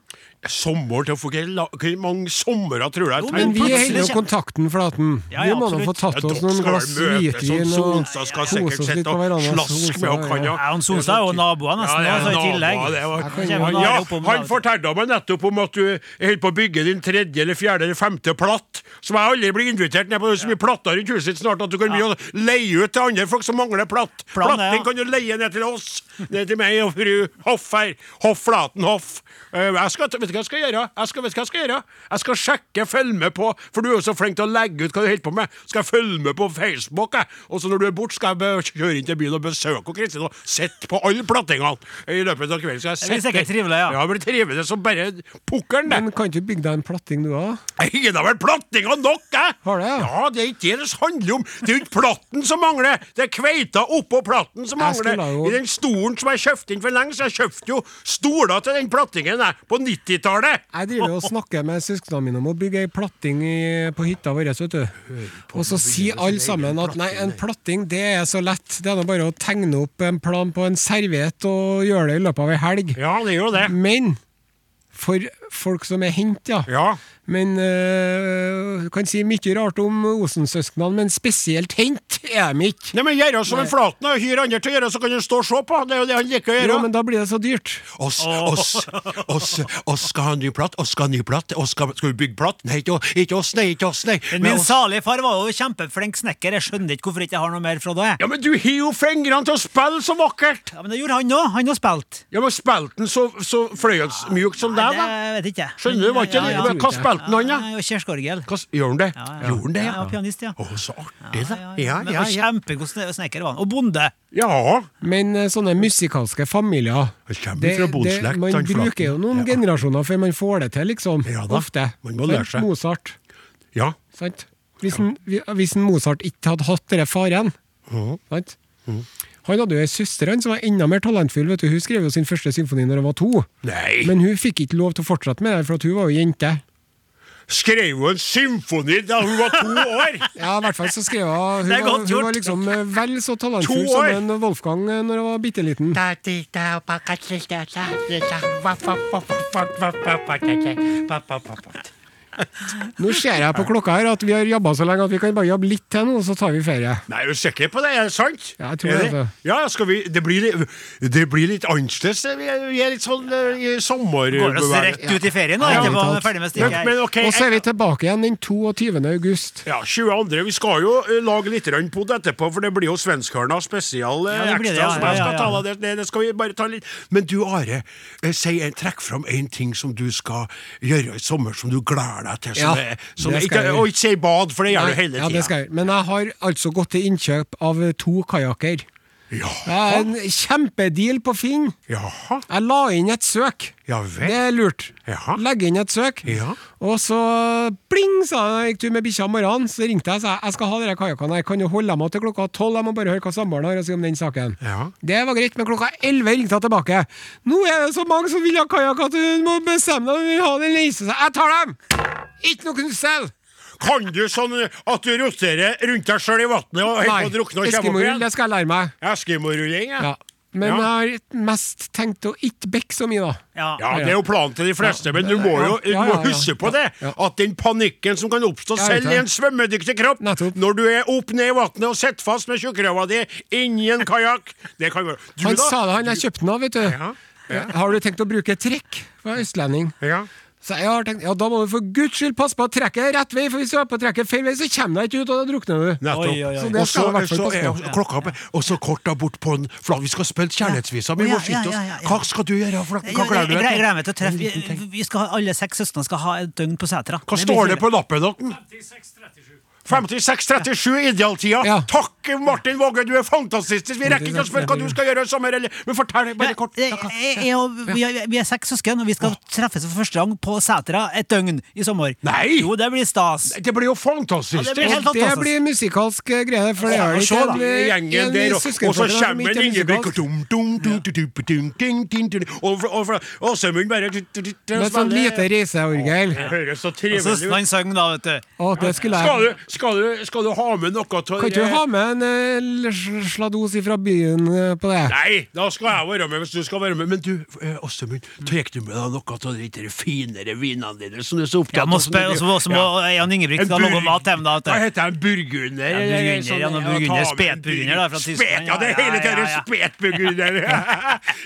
sommeren til å få Hvor la- hvor mange somre tror du jeg Jo, har men Men vi plutselig holder jo kjen- kontakten, Flaten. Ja, vi ja, må da få absolutt. tatt oss noen glass hvitvin og Sonstad sånn skal kose sikkert oss litt sitte på og verandaen. slaske med og Solstad, kan ja. ja. Ja, han Sonstad er jo naboer nesten, ja, altså, i naboer, tillegg. det var- Jeg kan ikke- ja, jeg kan ikke- han fortalte meg nettopp om at du holder på å bygge din tredje eller fjerde eller femte platt, som jeg aldri blir invitert ned på. Det er så mye platter rundt huset ditt snart at du kan begynne å leie ut til andre folk som mangler platt. Planen er, Platten ja. kan du leie ned til oss. Ned til meg og fru Hoff her. Hoff Flaten Hoff. Eh, Jeg skal, vet du hva jeg skal gjøre? Jeg skal, vet du hva jeg skal gjøre? Jeg skal sjekke, følge med på, for du er jo så flink til å legge ut hva du holder på med. Skal jeg følge med på Facebook, jeg. Og så når du er borte, skal jeg be- kjøre inn til byen og besøke og Kristin og sitte på alle plattingene i løpet av kvelden. Skal jeg Det blir sitte- sikkert trivelig, ja. Ja, det blir trivelig som bare pukkelen, det. Men kan ikke du bygge deg en platting du da? Ingen har vel plattinga nok, jeg! Har det, ja? ja, det er ikke det det handler om. Det er jo ikke platten som mangler, det er kveita oppå platten som Jeg mangler. skulle jo- I den stolen som jeg kjøpte inn for lenge, så jeg kjøpte jo stoler til den plattingen jeg, på 90-tallet. Jeg driver og snakker med søsknene mine om å bygge ei platting i, på hytta vår. vet du. Og så sier alle sammen at nei, en platting det er så lett. Det er nå bare å tegne opp en plan på en serviett og gjøre det i løpet av ei helg. Ja, det er jo det. Men for folk som er hent, ja. Ja. Men øh, du kan si mye rart om Osen-søsknene, men spesielt hent er de ikke. Nei, men Gjør som en flaten og hyr andre til å gjøre, så kan du stå og se på. Det er jo det han liker å Jo, gjøre. men da blir det så dyrt. Oss, oss, oss, oss skal ha en ny platt, oss skal ha en ny platt, oss skal, skal vi bygge platt? Nei, ikke, ikke oss, nei, ikke oss, nei. Men Men Min oss- salige far var jo kjempeflink snekker. Jeg skjønner ikke hvorfor ikke jeg har noe mer fra det. jeg. Ja, men du har jo fingrene til å spille så vakkert! Ja, Men det gjorde han òg. Han har spilt. Ja, men spilte den så, så fløyelsmjukt som deg, da? Nei, Det vet ikke jeg. Skjønner du, var ikke Ja, det? ja, Men Hva spilte han, da? Ja, ja, Kjærskorgel. Hva s- Gjorde han det? Ja, ja. Gjorde han det, Ja, ja, pianist, ja. Å, så artig, da. Ja, Ja, Men ja, han ja. Kjempegod sne- snekker var han. Og bonde. ja. Men øh, sånne musikalske familier Han kommer det- fra det- bondeslekt, Man han bruker Flaten. jo noen Ja. generasjoner før man får det til, liksom. Ja da, Ofte. man må lære seg. Mozart. ja. Sant? Hvis, en, vi- hvis en Mozart ikke hadde hatt denne faren sant? Han hadde jo ei søster han som var enda mer talentfull. Vet du. Hun skrev jo sin første symfoni når hun var to. Nei. Men hun fikk ikke lov til å fortsette med det, for at hun var jo jente. Skrev jo en symfoni da hun var to år! Ja, i hvert fall så skrev hun Det er Hun, var, godt hun var gjort. liksom eh, vel så talentfull To som år. en Wolfgang eh, når hun var bitte liten. Nå ser jeg på klokka her at vi har jobba så lenge at vi kan bare jobbe litt til nå, og så tar vi ferie. Nei, er du sikker på det? Er det sant? Ja, jeg tror Er det, altså. Ja, skal vi Det blir, litt- det blir litt annerledes. Vi er vi er litt sånn eh, i sommer... Går oss rett ut i ferien da, Ja, etterpå ja. han er ferdig med Men, stykket men her. ok, Og så er vi tilbake igjen den 22. august. Ja, 22. Vi skal jo eh, lage litt rønn på det etterpå, for det blir jo svenskhørna spesial eh, Ja, det blir ekstra. det, ja, som ja, jeg skal ja, tale av det. Nei, det skal vi bare ta litt. Men du, Are, eh, si, eh, trekk fram én ting som du skal gjøre i sommer, som du gleder deg til. Ja, Som er, som det skal ikke, jeg gjøre. og ikke si bad, for det gjør du hele ja, det tida. skal jeg. Men jeg har altså gått til innkjøp av eh, to kajakker. Ja, Det er en kjempedeal på Finn. jaha. Jeg la inn et søk. Ja vel. Det er lurt. Ja. Legge inn et søk. Ja. Og så bling, sa jeg, gikk tur med bikkja om morgenen. Så ringte jeg og sa jeg skal ha de her kajakkene. Jeg kan jo holde meg til klokka tolv. Jeg må bare høre hva samboeren har å si om den saken. Ja. Det var greit, men klokka elleve ringte jeg tilbake. Nå er det så mange som vil ha kajakk at du må bestemme deg om du vil ha den eller ikke. Så Jeg tar dem! Ikke noe selv! Kan du sånn eh, at du roterer rundt deg sjøl i vannet og holder på å drukne og kommer Eskimorull, opp det igjen? skal jeg lære meg. Eskimorulling, ja. Ja. Men eh, Ja. jeg har mest tenkt å ikke bekke så mye, da. Ja, Ja. det er jo planen til de fleste, men du må jo du Ja, ja, må ja. huske på Ja, det. ja. At den panikken som kan oppstå Ja, jeg vet selv i det. en svømmedyktig kropp, Nettopp. når du er opp ned i vannet og sitter fast med tjukkrøva di inni en kajakk Det kan være Du, Han da? sa det, han jeg kjøpte den av, vet du. Ja, Har du tenkt å bruke trekk? Var østlending. ja. Så jeg har tenkt, ja da må du for guds skyld passe på at trekket er rett vei, for hvis du er på trekket feil vei, så kommer du ikke ut, og da drukner du. Nettopp. Oi, oi, oi. Så Og det så, skal jeg i hvert fall så passe er på. klokka oppe, og så kort da bort på en flagg. Vi skal spille kjærlighetsvisa, men vi må Å, ja, ja, skynde ja, oss. ja. Hva skal du gjøre? Flaten? Jeg Hva jeg- gleder du jeg deg gleder til? meg til å treffe vi- vi skal, ha- Alle seks søstrene skal ha et døgn på setra. Hva står det på lappen deres? 56-37 idealtida. Ja. Takk, Martin Våge, du er fantastisk! Vi rekker ikke å spørre hva du skal gjøre i sommer, eller Men fortell Ja, bare kort. jeg- jeg- jeg og- vi, er- vi er seks søsken, og vi skal treffes for første gang på setra et døgn i sommer. Nei! Jo, det blir stas. Det blir jo Ja, fantastisk! det blir helt Og det fantastisk. blir musikalsk eh, greie, for det er Og vel så ikke da, en, gjengen en, der, og, søskenflokk og så som kommer ikke er Ingebrigt musikalsk. og dum, dum, dum, dum, dum, dum, dum, dum, dum, Og fra- og fra- Åsemund bare tut, tut, tut, Med sånn spiller. lite reiseorgel. Det høres så Og trivelig søstrene ut. sang, da, vet du. Å, det skulle Skal jeg du, skal, du, skal du ha med noe av Kan ikke du ha med en en eh, l- sl- slados ifra byen eh, på det. Nei, da skal jeg være med hvis du skal være med. Men du, eh, Åstemund, tar du med deg noe av de der finere vinene dine som du er så Jeg opptatt må altså, spørre, og så må- så må Ja. Jan Ingebrigtsen ha lov å mate dem, da. vet du. Hva heter den? Burgunder? Ja, eller burgunder, sånn, ja, noe ta med en burgunder. Spetburgunder, da, fra burg- Tyskland. Spet, ja, det er Ja, hele ja, ja, tiden ja. spetburgunder.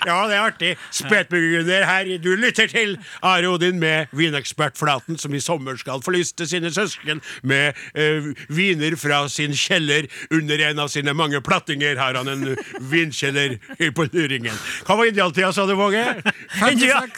ja, det er artig. Spetburgunder her. Du lytter til Are Odin med vinekspert Flaten, som i sommer skal forlyste sine søsken med eh, viner fra sin kjeller. Under en av sine mange plattinger har han en vinkjeller på luringen. Hva var idealtida, sa du, Våge? Ja. 56,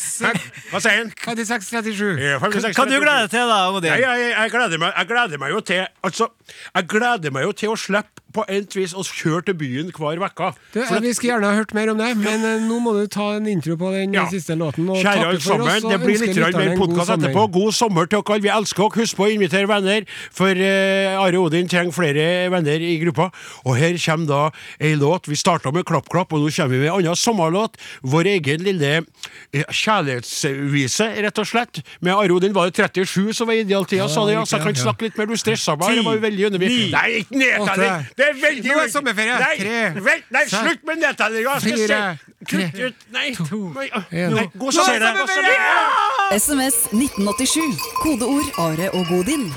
Hva sier han? 56 37. Eh, 56, Kan du glede deg til, da, Odin? Nei, jeg, jeg, gleder meg, jeg gleder meg jo til Altså, jeg gleder meg jo til å slippe på ent vis å kjøre til byen hver uke. Du, eh, vi skulle gjerne ha hørt mer om det, men eh, nå må du ta en intro på den eh, Ja. siste låten. Og Kjære takke alt for oss, sammen, og det blir ønske litt grann lytterne mer en god podkast sommer. etterpå. God sommer til dere. Vi elsker dere. Husk på å invitere venner, for eh, Are Odin trenger flere venner i gruppa. Og her kommer da ei låt. Vi starta med Klapp Klapp, og nå kommer vi med en annen sommerlåt. Vår egen lille eh, kjærlighetsvise, rett og slett. Med Are Odin var det 37 som var idealtida, sa de. Ja, så jeg kan snakke litt mer. Du stressa meg. Det var jo veldig underlig. Nei, ikke åtte, nedtelling! Det er veldig Nå er sommerferie. Nei, Tre, vent, nei, seks, slutt med nedtelling! Jeg skal fire, se- Kutt tre, ut! Nei, nei, en. nei, gå så Nå er ser sommerferie! det. SMS 1987. Kodeord Are og Odin.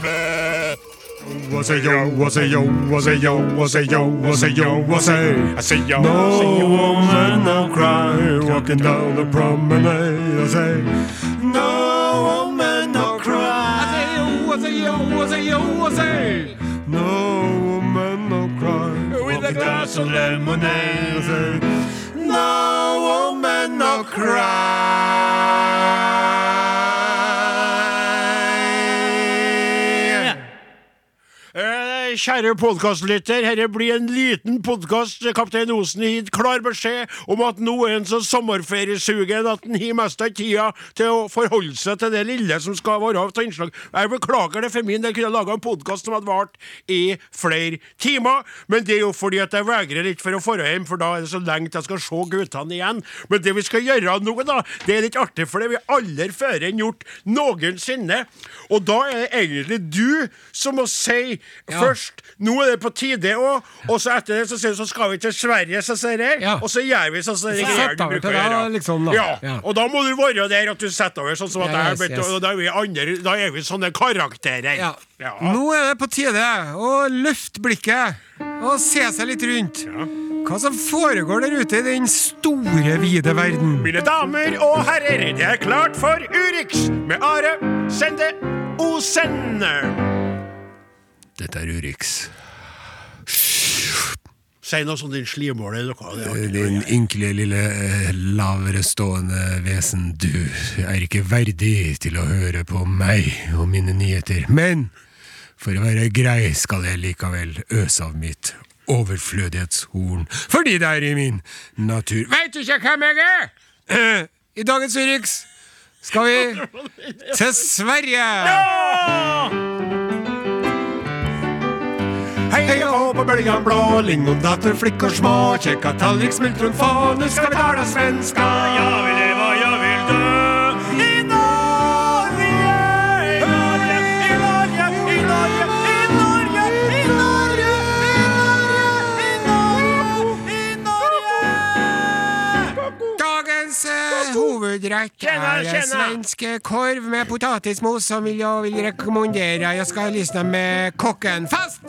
What's a yo, what's a yo, what's a yo, what's a yo, what's a yo, what's a I say yo, no woman, no cry, walking down the promenade. I say, no woman, no cry. No woman, no cry. With a glass of lemonade. I say, no woman, no cry. Eh, Kjære podkastlytter, herre blir en liten podkast. Kaptein Osen har gitt klar beskjed om at nå er han så sommerferiesugen at han har mest av tida til å forholde seg til det lille som skal være av til innslag. Jeg beklager det for min del, kunne jeg laga en podkast som hadde vart i flere timer, men det er jo fordi at jeg vegrer litt for å dra hjem, for da er det så lenge til jeg skal se guttene igjen. Men det vi skal gjøre nå, da, det er litt artig, for det har vi aldri før gjort noensinne. Og da er det egentlig du som må si først Nå er det på tide òg, og så etter det så sier du så skal vi til Sverige, så sier jeg, Ja. og så gjør vi sånn som det Så greier setter du vi bruker å til deg, gjøre. liksom, da. Ja. Ja. Og da må du være der at du setter over, sånn som at Ja, jeg yes, vet, yes. og da er vi andre Da er vi sånne karakterer. Ja. Ja. Nå er det på tide å løfte blikket og se seg litt rundt. Hva som foregår der ute i den store, vide verden. Mine damer og herrer, det er klart for Urix med Are Sende Osen. Dette er Urix. Si noe sånn din slimåle eller noe. Eh, det er artig. Eh, Din ynkelige lille eh, lavere stående vesen, du er ikke verdig til å høre på meg og mine nyheter. Men for å være grei skal jeg likevel øse av mitt overflødighetshorn, fordi det er i min natur. Veit du ikke hvem jeg er? Eh, I dagens Urix skal vi til Sverige! Hei og hå på bølgan blå, lingondatter, flickor små, kjekka tallrik, smultron, få, nu ska vi tala svenska. Jag vill leva, jag vill dö i Norge, i Norge, i Norge, i Norge, i Norge, i Norge, i Norge, i Norge, i Norge. Dagens eh, hovedrett Tjena, er eh, tjena. svensk eh, korv med potatismos som vil jag vill rekommendera. Jag ska lyssna med kocken. Fast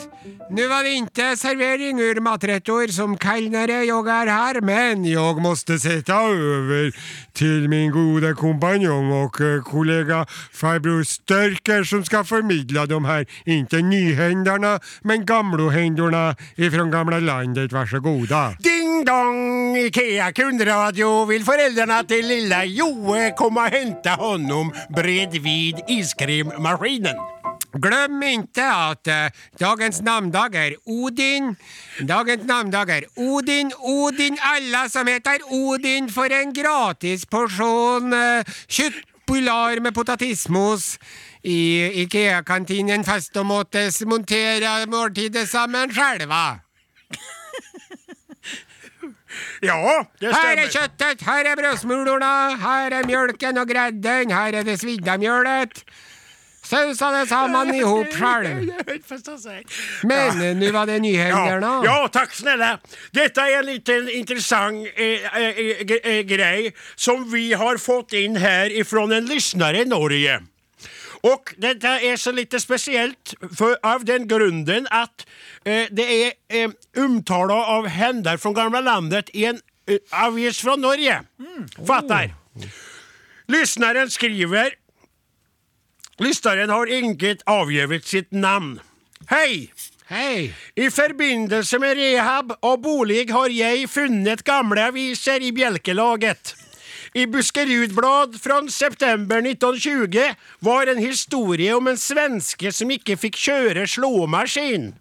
nu var det inte servering ur maträtter som kallnare jag är här, men jag måste sätta över till min gode kompanjon och eh, kollega farbror Störker som ska förmedla de här, inte nyhändarna, men gamlohändarna ifrån gamla landet. Varsågoda. Ding dong, Ikea kundradio vill föräldrarna till lilla Joe komma och hämta honom bredvid iskrimmaskinen. Glem ikke at eh, dagens namndag er Odin. Dagens namndag er Odin, Odin, alle som heter Odin, for en gratis porsjon eh, kjøttbullar med potatismos i Ikea-kantinen fast og måttes montere måltidet sammen sjølva. Ja, det Her er stämmer. kjøttet, her er brødsmulorna, her er mjølken og gredden, her er det svidda mjølet. Sausa det sammen i hop sjøl. Men eh, nå var det nyheter, Ja, da. ja, takk snälla. Detta är en liten intressant eh, eh, g- eh, grej som vi har fått in här ifrån en lyssnare i Norge. Och detta är så lite speciellt för, av den grunden att eh, det är eh, omtala av händer från gamla landet i en eh, avis från Norge. Fattar? Lyssnaren skriver Lyssnaren har inget avgivit sitt namn. Hej! Hei. I forbindelse med rehab og bolig har jeg funnet gamle aviser i bjelkelaget. I Buskerudblad fra september 1920 var en historie om en svenske som ikke fikk kjøre slåmaskin.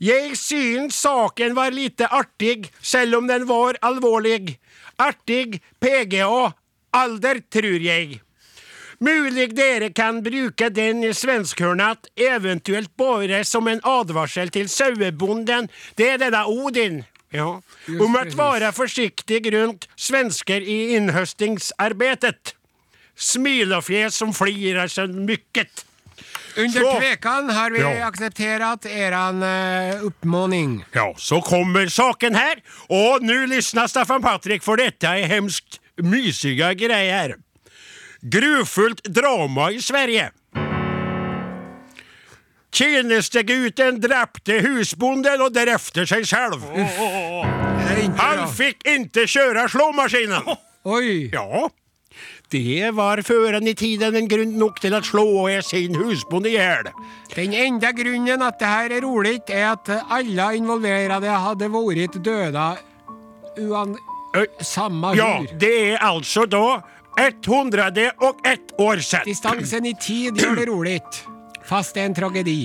Jeg syns saken var lite artig, selv om den var alvorlig. Artig PGA alder, tror jeg. Mulig dere kan bruke den i svenskhørnet, eventuelt bare som en advarsel til sauebonden. Det er denne Odin. Ja. Om å være forsiktig rundt svensker i innhøstingsarbeidet. Smilefjes som flirer så mykket. Under Så. tvekan har vi Ja. aksepterat eran eh, uppmaning. Ja, så kommer saken her. Og nå lyssna Staffan Patrik, for dette er hemskt mysiga greier. Grufullt drama i Sverige. Tjenestegutten drepte husbonden og derefter seg selv. Han fikk ikke kjøre slåmaskinen. Oj! Ja. Det var føren i tiden en grunn nok til å slå sin husbonde i hjel. Den enda grunnen at det her er roligt er at alle involverade hadde vært døda uan... Øy. Samma Ja, hur. det er altså da 101 år siden. Distansen i tid gjør det roligt. Fast det er en tragedi.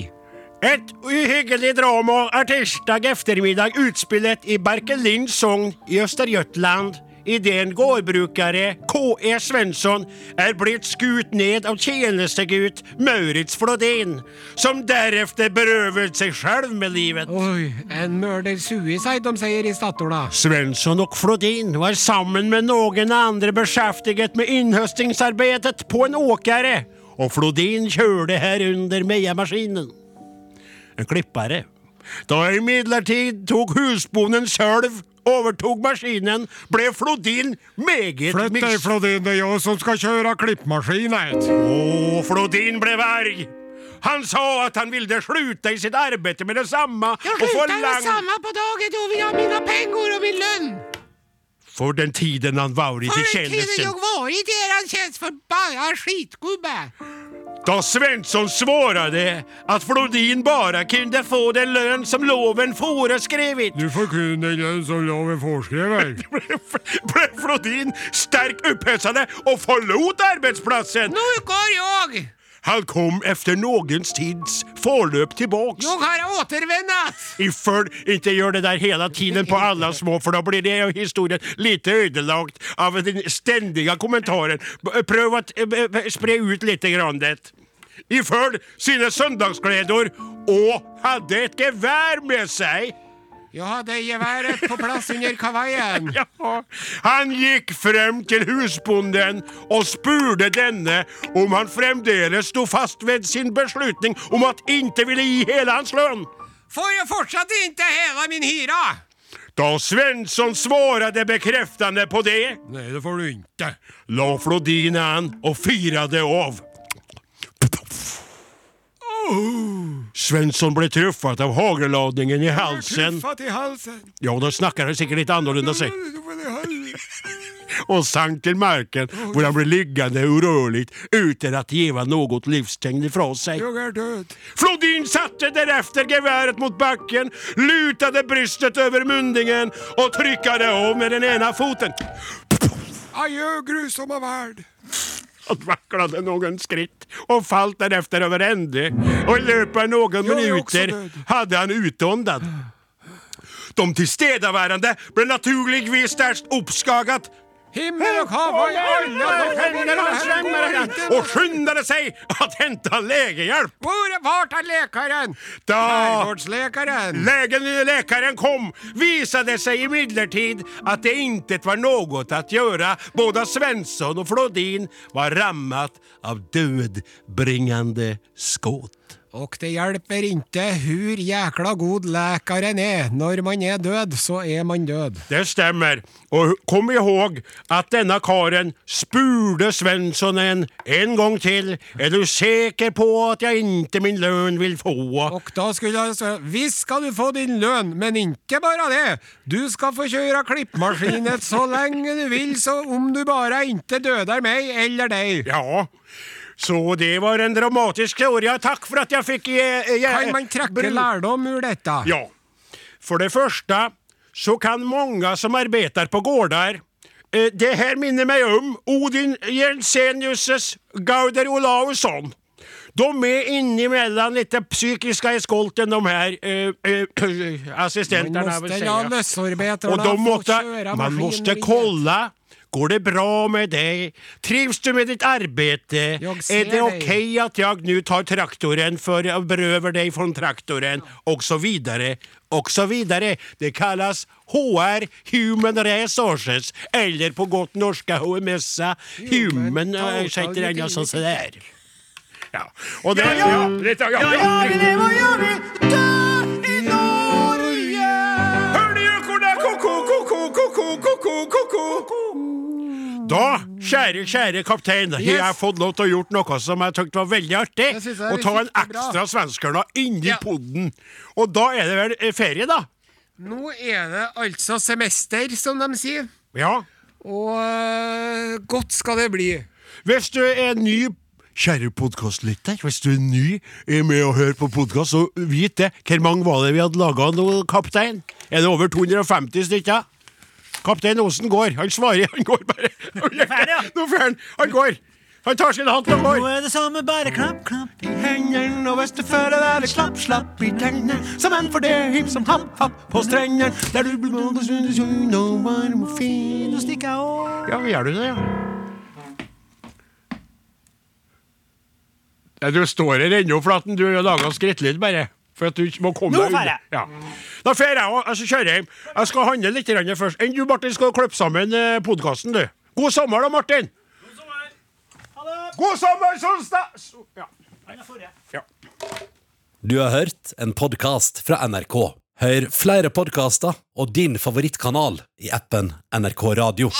Et uhyggelig drama er tirsdag ettermiddag utspillet i Berkelin sogn i Østergötland idet en gårdbrukere, K.E. Svensson, er blitt skutt ned av tjenestegutt Maurits Flodin, som deretter berøvet seg selv med livet. Oi, en murder suicide, de sier i Statola. Svensson og Flodin var sammen med noen andre beskjeftiget med innhøstingsarbeidet på en åkere, og Flodin kjørte herunder meiamaskinen. En klippare. Da imidlertid tok husbonden selv overtok maskinen, ble Flodin meget Flytt deg, mis... Flodin, det er jeg som skal kjøre klippmaskinet. Å, Flodin ble verg! Han sa at han ville slutte i sitt arbeid med det samme og forlang... på dagen, då vil jeg ha mine penger og min lønn! For den tiden han var i tjenesten. vært i eran tjenest, forbanna skitgubbe! Da Svensson svarade att Flodin bara kunde få den lön som loven föreskrivit Du får kun den lønn som loven foreskriver. blev Flodin starkt upphetsade och förlot arbetsplatsen. Nå går jeg! Han kom efter någons tids förlöp tillbaks. Jeg har återvendt! Ifall inte gör det där hela tiden på alla små för då blir det av historien lite ödelagt av den ständiga kommentaren. B- Pröv att eh, b- b- spre ut lite grann det. Ifall sina söndagskläder och hade ett gevär med sig. Jeg hadde geværet på plass under kavaien. Ja. Han gikk frem til husbonden og spurte denne om han fremdeles sto fast ved sin beslutning om at inte ville gi hele hans lønn. Får jeg fortsatt ikke heva min hyra? Da Svensson svarade bekräftande på det Nei, det får du ikke. la Flodin an och firade av. Svensson blev träffad av hageladningen i halsen. Tuffa til halsen. Ja, då snackade han säkert lite annorlunda sig. Och sank till marken, där han blev liggande orörligt utan att ge något livstegn ifrån sig. Jeg er død. Flodin satte därefter geväret mot backen, lutade brystet över mundingen och tryckade av med den ena foten. Adjø, grusomme verd. Han vacklade någon skritt och falt därefter över ände och i löpet av några är också minuter död. hade han utåndad. De tillstädavärande blev naturligtvis stärst uppskagat Himmel og hav og i alle hender og hender Og skynd dere seg at henta legehjelp! Hvor vart er lekaren? Da Hergårdslekaren. legen lekaren kom, visade det sig imidlertid att det inte var något att göra. Både Svensson och Flodin var rammat av dödbringande skott. Og det hjelper inte hur jækla god lekaren er. Når man er død, så er man død. Det stämmer. Och kom ihåg att denna karen spurde Svenssonen en gång till. Är du säker på att jag inte min lön vill få? Og da skulle jeg svare Visst skal du få din lønn, men ikke bare det. Du skal få kjøre klippmaskinen så lenge du vil, så om du bare ikke døder meg eller deg. Ja. Så det var en dramatisk historia. Tack för att jag fick ge... ge Kan man trekke lærdom ur dette? Ja. For det første så kan mange som arbeider på gårder eh, Det her minner meg om Odin Jensenius' Gauder Olausson. De er innimellom litt psykiske i skolten, de her eh, eh, assistentene. Man vil måste si. la løsarbeiderna Og de få måtte, kjøre man maskinen måste videre. kolla. Går det bra med deg? Trivs du med ditt arbete? Jag ser Är det dig. okej att jag nu tar traktoren för jag berövar dig från traktoren? Och så vidare. Och så vidare. Det kallas HR, Human Resources, eller på gott norska HMS, Human... Total eh, Ursäkta, jag Utility. sa sådär. Ja, och det... ja. det- ja, ja. Jeg vil leve og jeg vil dø i Norge. Da, kjære, kjære kaptein, har jeg fått lov til å gjort noe som jeg tykte var veldig artig. Det synes jeg er Å ta en riktig bra. ekstra svenskerna inni podden. Og da er det vel eh, ferie, da? Nå er det altså semester, som de sier. Ja. Og øh, godt skal det bli. Hvis du er ny Kjære podkastlytter, hvis du er ny eh, med å høre på podkast, så vit det. Hvor mange var det vi hadde laga nå, kaptein? Er det over 250 stykker? Kaptein Osen går. Han svarer. Han går bare. ferdig, ja. Nå fer han. Han går. Han tar sin hatt og går. Nå er det samme, bare klapp, klapp i hengeren, og hvis du føler deg litt slapp, slapp i tennene, som en for det, hipp som happ, happ på strendene, der du blir både sunn og sunn og varm og fin og stikk av. Ja, gjør du det, ja? Ja, Du står her ennå, Flaten. Du har laga skrittlyd, bare. For at du ikke må komme Nå deg unna. fer jeg. Ja. Da fer jeg òg. Jeg skal kjøre hjem. Jeg skal handle litt grann først. Enn du, Martin, skal klippe sammen podkasten, du. God sommer, da, Martin. God sommer, Solstad! So- Ja. Du har hørt en podkast fra NRK. Hør flere podkaster og din favorittkanal i appen NRK Radio.